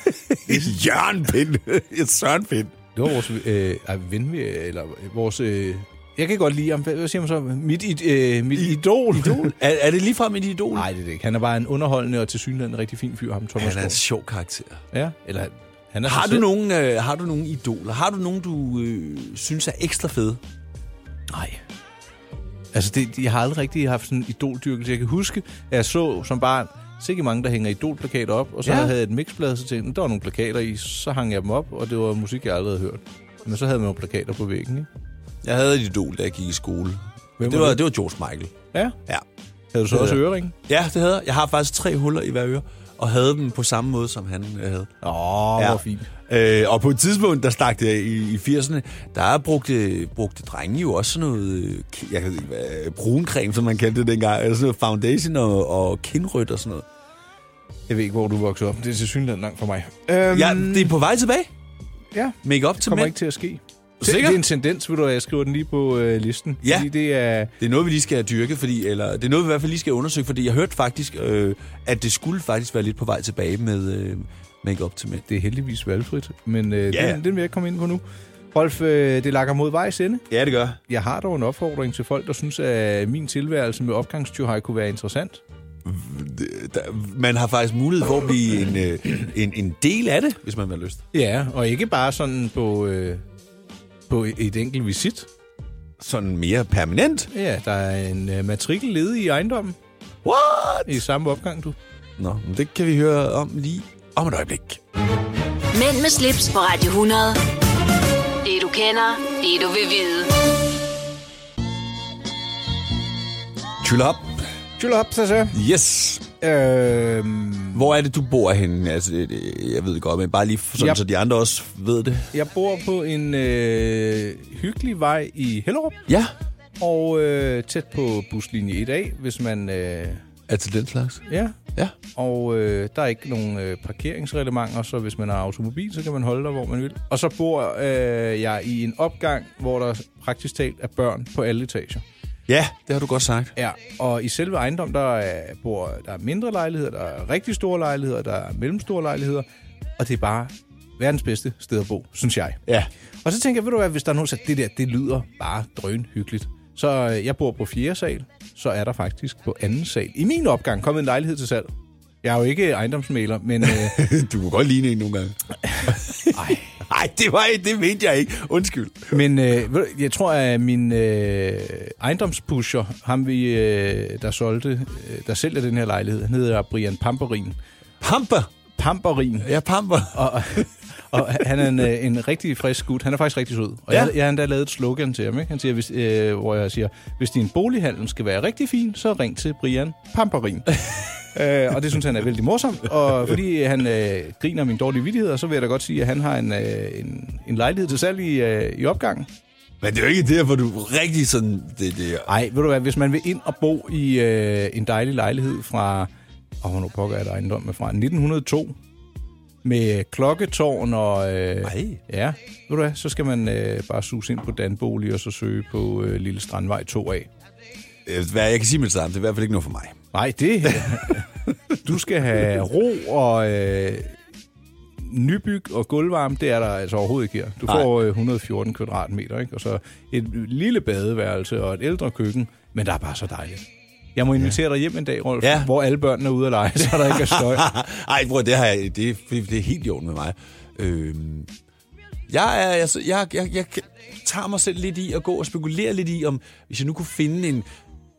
Speaker 2: Et jørnpind. Et sørenpind.
Speaker 3: Det var vores øh, ej, ven, vi- eller vores... Øh, jeg kan godt lide ham. Hvad hvad siger man så? Mit, id, øh, mit idol. idol?
Speaker 2: Er, er det ligefrem et idol?
Speaker 3: Nej, det er det ikke. Han er bare en underholdende og tilsyneladende rigtig fin fyr, ham Thomas
Speaker 2: Han er en
Speaker 3: Skov.
Speaker 2: sjov karakter.
Speaker 3: Ja, eller han- han er sig
Speaker 2: Har du,
Speaker 3: selv.
Speaker 2: nogen, øh, har du nogen idoler? Har du nogen, du øh, synes er ekstra fede?
Speaker 3: Nej. Altså, det, jeg har aldrig rigtig haft sådan en idoldyrkelse. Jeg kan huske, at jeg så som barn sikkert mange, der hænger idolplakater op, og så
Speaker 2: Ja.
Speaker 3: ja. havde jeg et mixblad, så tænkte jeg, der var nogle plakater i, så hang jeg dem op, og det var musik, jeg aldrig havde hørt. Men så havde man jo plakater på væggen, ikke?
Speaker 2: Jeg havde et idol, da jeg gik i skole.
Speaker 3: Hvem
Speaker 2: det,
Speaker 3: var
Speaker 2: var,
Speaker 3: det?
Speaker 2: det var George Michael.
Speaker 3: Ja.
Speaker 2: Ja.
Speaker 3: Havde du så
Speaker 2: Det
Speaker 3: også
Speaker 2: havde
Speaker 3: ørering?
Speaker 2: Ja, det havde jeg. Jeg har faktisk tre huller i hver øre, og havde dem på samme måde, som han øh, havde.
Speaker 3: Åh, oh,
Speaker 2: Ja.
Speaker 3: ja. hvor fint.
Speaker 2: Øh, og på et tidspunkt, der stak det i, i 80'erne, der brugte, brugte drenge jo også sådan noget, øh, k- jeg kan ikke, hvad, bruncreme, som man kaldte det dengang, altså sådan noget foundation og, og kindrødt og sådan noget.
Speaker 3: Jeg ved ikke, hvor du voksede op. Det er til synligheden langt for mig. Øhm,
Speaker 2: Ja, det er på vej tilbage.
Speaker 3: ja.
Speaker 2: Make up til
Speaker 3: kommer
Speaker 2: mænd.
Speaker 3: ikke til at ske.
Speaker 2: Sikker?
Speaker 3: Det er en tendens, ved du, hvad, jeg skriver den lige på øh, listen.
Speaker 2: Ja.
Speaker 3: Fordi det er...
Speaker 2: Det er noget, vi lige skal have dyrket, fordi, eller det er noget, vi i hvert fald lige skal undersøge, fordi jeg hørte faktisk, øh, at det skulle faktisk være lidt på vej tilbage med øh, make-up til mænd.
Speaker 3: Det er heldigvis valgfrit, men øh,
Speaker 2: Ja.
Speaker 3: yeah. den, den vil jeg ikke komme ind på nu. Rolf, øh, det lakker mod vejs ende.
Speaker 2: Ja, det gør
Speaker 3: Jeg har dog en opfordring til folk, der synes, at min tilværelse med opgangstyvhej kunne være interessant.
Speaker 2: der, Man har faktisk mulighed for at blive en, øh, en, en del af det, hvis man har lyst.
Speaker 3: Ja, og ikke bare sådan på, øh, på et enkelt visit.
Speaker 2: Sådan mere permanent.
Speaker 3: Ja, der er en øh, matrikel ledig i ejendommen
Speaker 2: What?
Speaker 3: i samme opgang, du.
Speaker 2: Nå, men det kan vi høre om lige om et øjeblik.
Speaker 1: Mænd med slips på Radio 100. Det du kender, det du vil vide.
Speaker 2: Chill up.
Speaker 3: Chill op, så så.
Speaker 2: Yes.
Speaker 3: Øhm,
Speaker 2: Hvor er det, du bor henne? Altså, det, det, jeg ved det godt, men bare lige sådan,
Speaker 3: Yep.
Speaker 2: så de andre også ved det.
Speaker 3: jeg bor på en øh, hyggelig vej i Hellerup,
Speaker 2: Ja.
Speaker 3: og øh, tæt på buslinje 1A, hvis man... Øh,
Speaker 2: Altså den slags?
Speaker 3: ja,
Speaker 2: Ja.
Speaker 3: og øh, der er ikke nogen øh, parkeringsreglementer, så hvis man har automobil, så kan man holde der, hvor man vil. Og så bor øh, jeg i en opgang, hvor der praktisk talt er børn på alle etager.
Speaker 2: Ja, det har du godt sagt.
Speaker 3: Ja, og i selve ejendommen, der er, bor, der er mindre lejligheder, der er rigtig store lejligheder, der er mellemstore lejligheder, og det er bare verdens bedste sted at bo, synes jeg.
Speaker 2: Ja.
Speaker 3: Og så tænker jeg, ved du hvad, hvis der er nogen, der siger, det der, det lyder bare drønhyggeligt. Så øh, jeg bor på fjerde sal, så er der faktisk på anden sal. I min opgang kom en lejlighed til salg. Jeg er jo ikke ejendomsmaler, men øh,
Speaker 2: Du kunne godt ligne en nogle gange. Nej, det var ikke, det mente jeg ikke. Undskyld.
Speaker 3: Men øh, ved du, jeg tror, at min øh, ejendomspusher, ham vi, øh, der solgte, øh, der sælger den her lejlighed, han hedder Brian Pamperin.
Speaker 2: Pamper.
Speaker 3: Pamperin.
Speaker 2: Ja, pamper.
Speaker 3: Og, og han er en, øh, en rigtig frisk gut. Han er faktisk rigtig sød. Og
Speaker 2: Ja.
Speaker 3: ja. jeg, jeg har endda lavet et slogan til ham, ikke? Han siger, hvis, øh, hvor jeg siger, hvis din bolighandel skal være rigtig fin, så ring til Brian Pamperin. øh, og det synes han er vældig morsomt. Og fordi han øh, griner min dårlige vidigheder, så vil jeg da godt sige, at han har en, øh, en, en lejlighed til salg i, øh, i opgangen.
Speaker 2: Men det er jo ikke derfor, du rigtig sådan... Det, det,
Speaker 3: Ej, ved du hvad, hvis man vil ind og bo i øh, en dejlig lejlighed fra, åh, hvornår pokker er der ejendomme fra, 1902, med klokketårn og... Øh,
Speaker 2: Ej.
Speaker 3: Ja, ved du hvad, så skal man øh, bare suse ind på Danbolig og så søge på øh, Lille Strandvej 2A.
Speaker 2: øh, hvad jeg kan sige med det samme, det er i hvert fald ikke noget for mig.
Speaker 3: Nej, det Du skal have ro og øh, nybyg og gulvvarme, det er der altså overhovedet ikke her. Du
Speaker 2: Nej.
Speaker 3: får øh, 114 kvadratmeter, ikke? og så et lille badeværelse og et ældre køkken, men der er bare så dejligt. Jeg må invitere dig hjem en dag, Rolf,
Speaker 2: Ja.
Speaker 3: ja. hvor alle børnene er ude at lege, så der ikke er støj.
Speaker 2: Ej, bror, det, har jeg, det, er, det er helt i orden med mig. Øh, jeg, er, altså, jeg, jeg, jeg tager mig selv lidt i at gå og spekulere lidt i, om hvis jeg nu kunne finde en,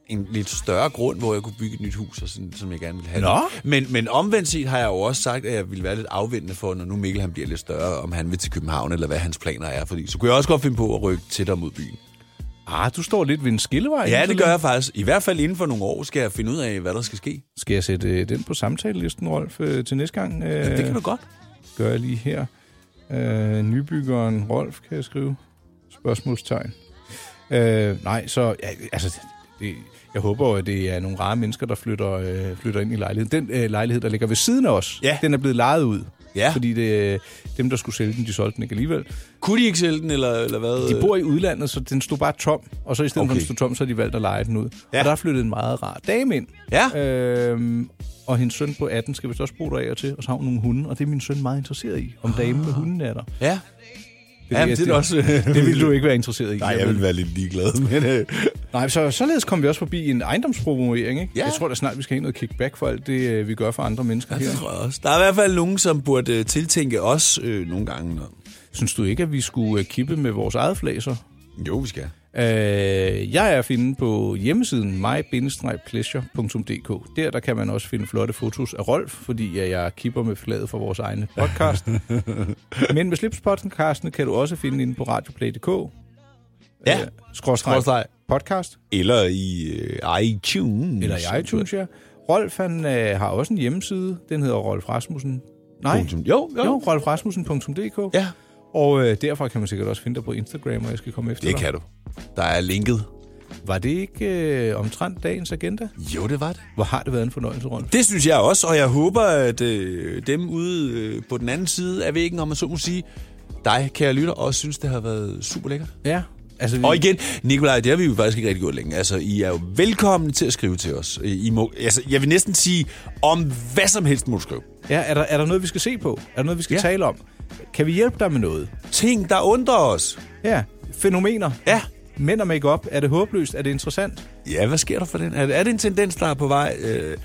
Speaker 2: en lidt større grund, hvor jeg kunne bygge et nyt hus, og sådan, som jeg gerne ville have. det.
Speaker 3: Nå.
Speaker 2: Men, men omvendt set har jeg jo også sagt, at jeg ville være lidt afventende for, når nu Mikkel han bliver lidt større, om han vil til København, eller hvad hans planer er. Fordi så kunne jeg også godt finde på at rykke tættere mod byen.
Speaker 3: Ah, du står lidt ved en skillevej.
Speaker 2: Ja, det gør
Speaker 3: jeg.
Speaker 2: jeg faktisk. I hvert fald inden for nogle år skal jeg finde ud af, hvad der skal ske.
Speaker 3: Skal jeg sætte øh, den på samtalelisten, Rolf, øh, til næste gang? Øh,
Speaker 2: Det kan du godt.
Speaker 3: gør jeg lige her. Øh, nybyggeren Rolf, kan jeg skrive? Spørgsmålstegn. Øh, nej, så... Ja, altså, det, jeg håber jo, at det er nogle rare mennesker, der flytter, øh, flytter ind i lejligheden. Den øh, lejlighed, der ligger ved siden af os,
Speaker 2: Ja.
Speaker 3: den er blevet lejet ud.
Speaker 2: Ja.
Speaker 3: Fordi det, øh, dem, der skulle sælge den, de solgte den ikke alligevel.
Speaker 2: Kunne de ikke sælge den, eller, eller hvad?
Speaker 3: De bor i udlandet, så den stod bare tom. Og så i stedet okay. for, at
Speaker 2: Okay.
Speaker 3: den stod tom, så har de valgt at lege den ud.
Speaker 2: Ja.
Speaker 3: Ja. Og der er flyttet en meget rar dame ind.
Speaker 2: Ja.
Speaker 3: Øhm, og hendes søn på 18 skal vist også bo der af og til, og så har hun nogle hunde, og det er min søn meget interesseret i, om damen med hunden er der.
Speaker 2: Ja. Ja, men det er da også-
Speaker 3: øh, det ville du ikke være interesseret i.
Speaker 2: Nej, jeg
Speaker 3: Jamen.
Speaker 2: vil være lidt ligeglad, men... Øh,
Speaker 3: Nej, så således kom vi også forbi en ejendomspromovering, ikke?
Speaker 2: Ja.
Speaker 3: Jeg tror da snart, vi skal have noget kickback for alt det, øh, vi gør for andre mennesker
Speaker 2: ja,
Speaker 3: her.
Speaker 2: det tror jeg også. Der er i hvert fald nogen, som burde øh, tiltænke os øh, nogle gange. Noget.
Speaker 3: Synes du ikke, at vi skulle øh, kippe med vores eget flag, så?
Speaker 2: Jo, vi skal.
Speaker 3: Øh, jeg er at finde på hjemmesiden my-pleasure.dk. Der, der kan man også finde flotte fotos af Rolf, fordi jeg, jeg kipper med flaget for vores egne podcast. Men med slipspodcasten kan du også finde inde på radioplay.dk.
Speaker 2: Ja.
Speaker 3: Øh, skråstreg
Speaker 2: Skråstreg.
Speaker 3: podcast.
Speaker 2: Eller i øh, iTunes.
Speaker 3: Eller i iTunes, ja. Rolf, han øh, har også en hjemmeside. Den hedder Rolf Rasmussen. Nej,
Speaker 2: Punktum. Jo, jo.
Speaker 3: jo, rolfrasmussen.dk.
Speaker 2: Ja,
Speaker 3: Og øh, derfra kan man sikkert også finde dig på Instagram, og jeg skal komme efter
Speaker 2: det
Speaker 3: dig.
Speaker 2: kan du. Der er linket.
Speaker 3: Var det ikke øh, omtrent dagens agenda?
Speaker 2: Jo, det var det.
Speaker 3: Hvor har det været en fornøjelse, Rolf?
Speaker 2: Det synes jeg også, og jeg håber, at øh, dem ude øh, på den anden side af væggen, om man så må sige, dig, kære lytter, også synes, det har været super lækkert.
Speaker 3: Ja. Altså, vi,
Speaker 2: Mm. Og igen, Nikolaj, det har vi jo faktisk ikke rigtig gjort længe. Altså, I er jo velkommen til at skrive til os. I må, altså, jeg vil næsten sige, om hvad som helst må du skrive.
Speaker 3: ja, er, der, er der noget, vi skal se på? Er der noget, vi skal
Speaker 2: Ja.
Speaker 3: ja. tale om? Kan vi hjælpe dig med noget?
Speaker 2: Ting, der undrer os.
Speaker 3: Ja. Fænomener?
Speaker 2: Ja.
Speaker 3: Mænd og makeup. Er det håbløst? Er det interessant?
Speaker 2: Ja, hvad sker der for den? Er, er det en tendens, der er på vej? Øh,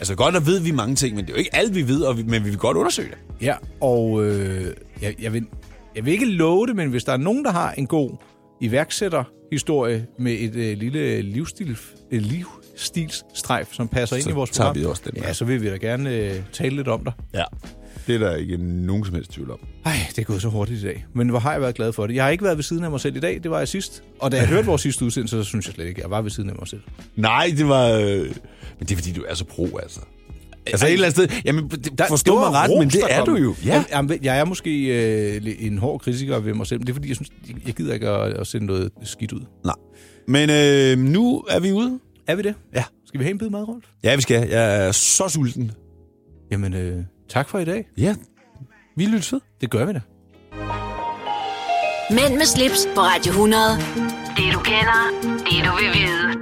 Speaker 2: altså, godt, der ved vi mange ting, men det er jo ikke alt, vi ved, og vi, men vi vil godt undersøge det.
Speaker 3: Ja, og øh, jeg, jeg, vil, jeg vil ikke love det, men hvis der er nogen, der har en god iværksætterhistorie med et øh, lille livsstil, øh, livsstilsstrejf, som passer
Speaker 2: Så
Speaker 3: ind i vores
Speaker 2: tager
Speaker 3: program,
Speaker 2: vi også den med.
Speaker 3: ja, så vil vi da gerne øh, tale lidt om dig.
Speaker 2: Ja. Det er der ikke nogen som helst tvivl om.
Speaker 3: Ej, det er gået så hurtigt i dag. Men hvor har jeg været glad for det. Jeg har ikke været ved siden af mig selv i dag, det var jeg sidst. Og da jeg hørte vores sidste udsendelse, så synes jeg slet ikke, at jeg var ved siden af mig selv.
Speaker 2: Nej, det var... Øh... Men det er, fordi du er så pro, altså. Altså et eller andet sted... Jamen, det- forstå
Speaker 3: det var
Speaker 2: mig ret,
Speaker 3: ros,
Speaker 2: men det
Speaker 3: der
Speaker 2: er
Speaker 3: kom.
Speaker 2: du jo.
Speaker 3: Ja. Jamen, jeg er måske øh, lidt en hård kritiker ved mig selv, men det er fordi, jeg, synes, jeg gider ikke at, at sende noget skidt ud.
Speaker 2: Nej. Men øh, nu er vi ude.
Speaker 3: Er vi det?
Speaker 2: Ja.
Speaker 3: Skal vi have en bid mad, Rolf?
Speaker 2: Ja, vi skal. Jeg er så sulten.
Speaker 3: Jamen, øh, tak for i dag.
Speaker 2: Ja. Vi lyttes ved.
Speaker 3: Det gør vi da.
Speaker 1: Mænd med slips på Radio 100. Det du kender, det du vil vide.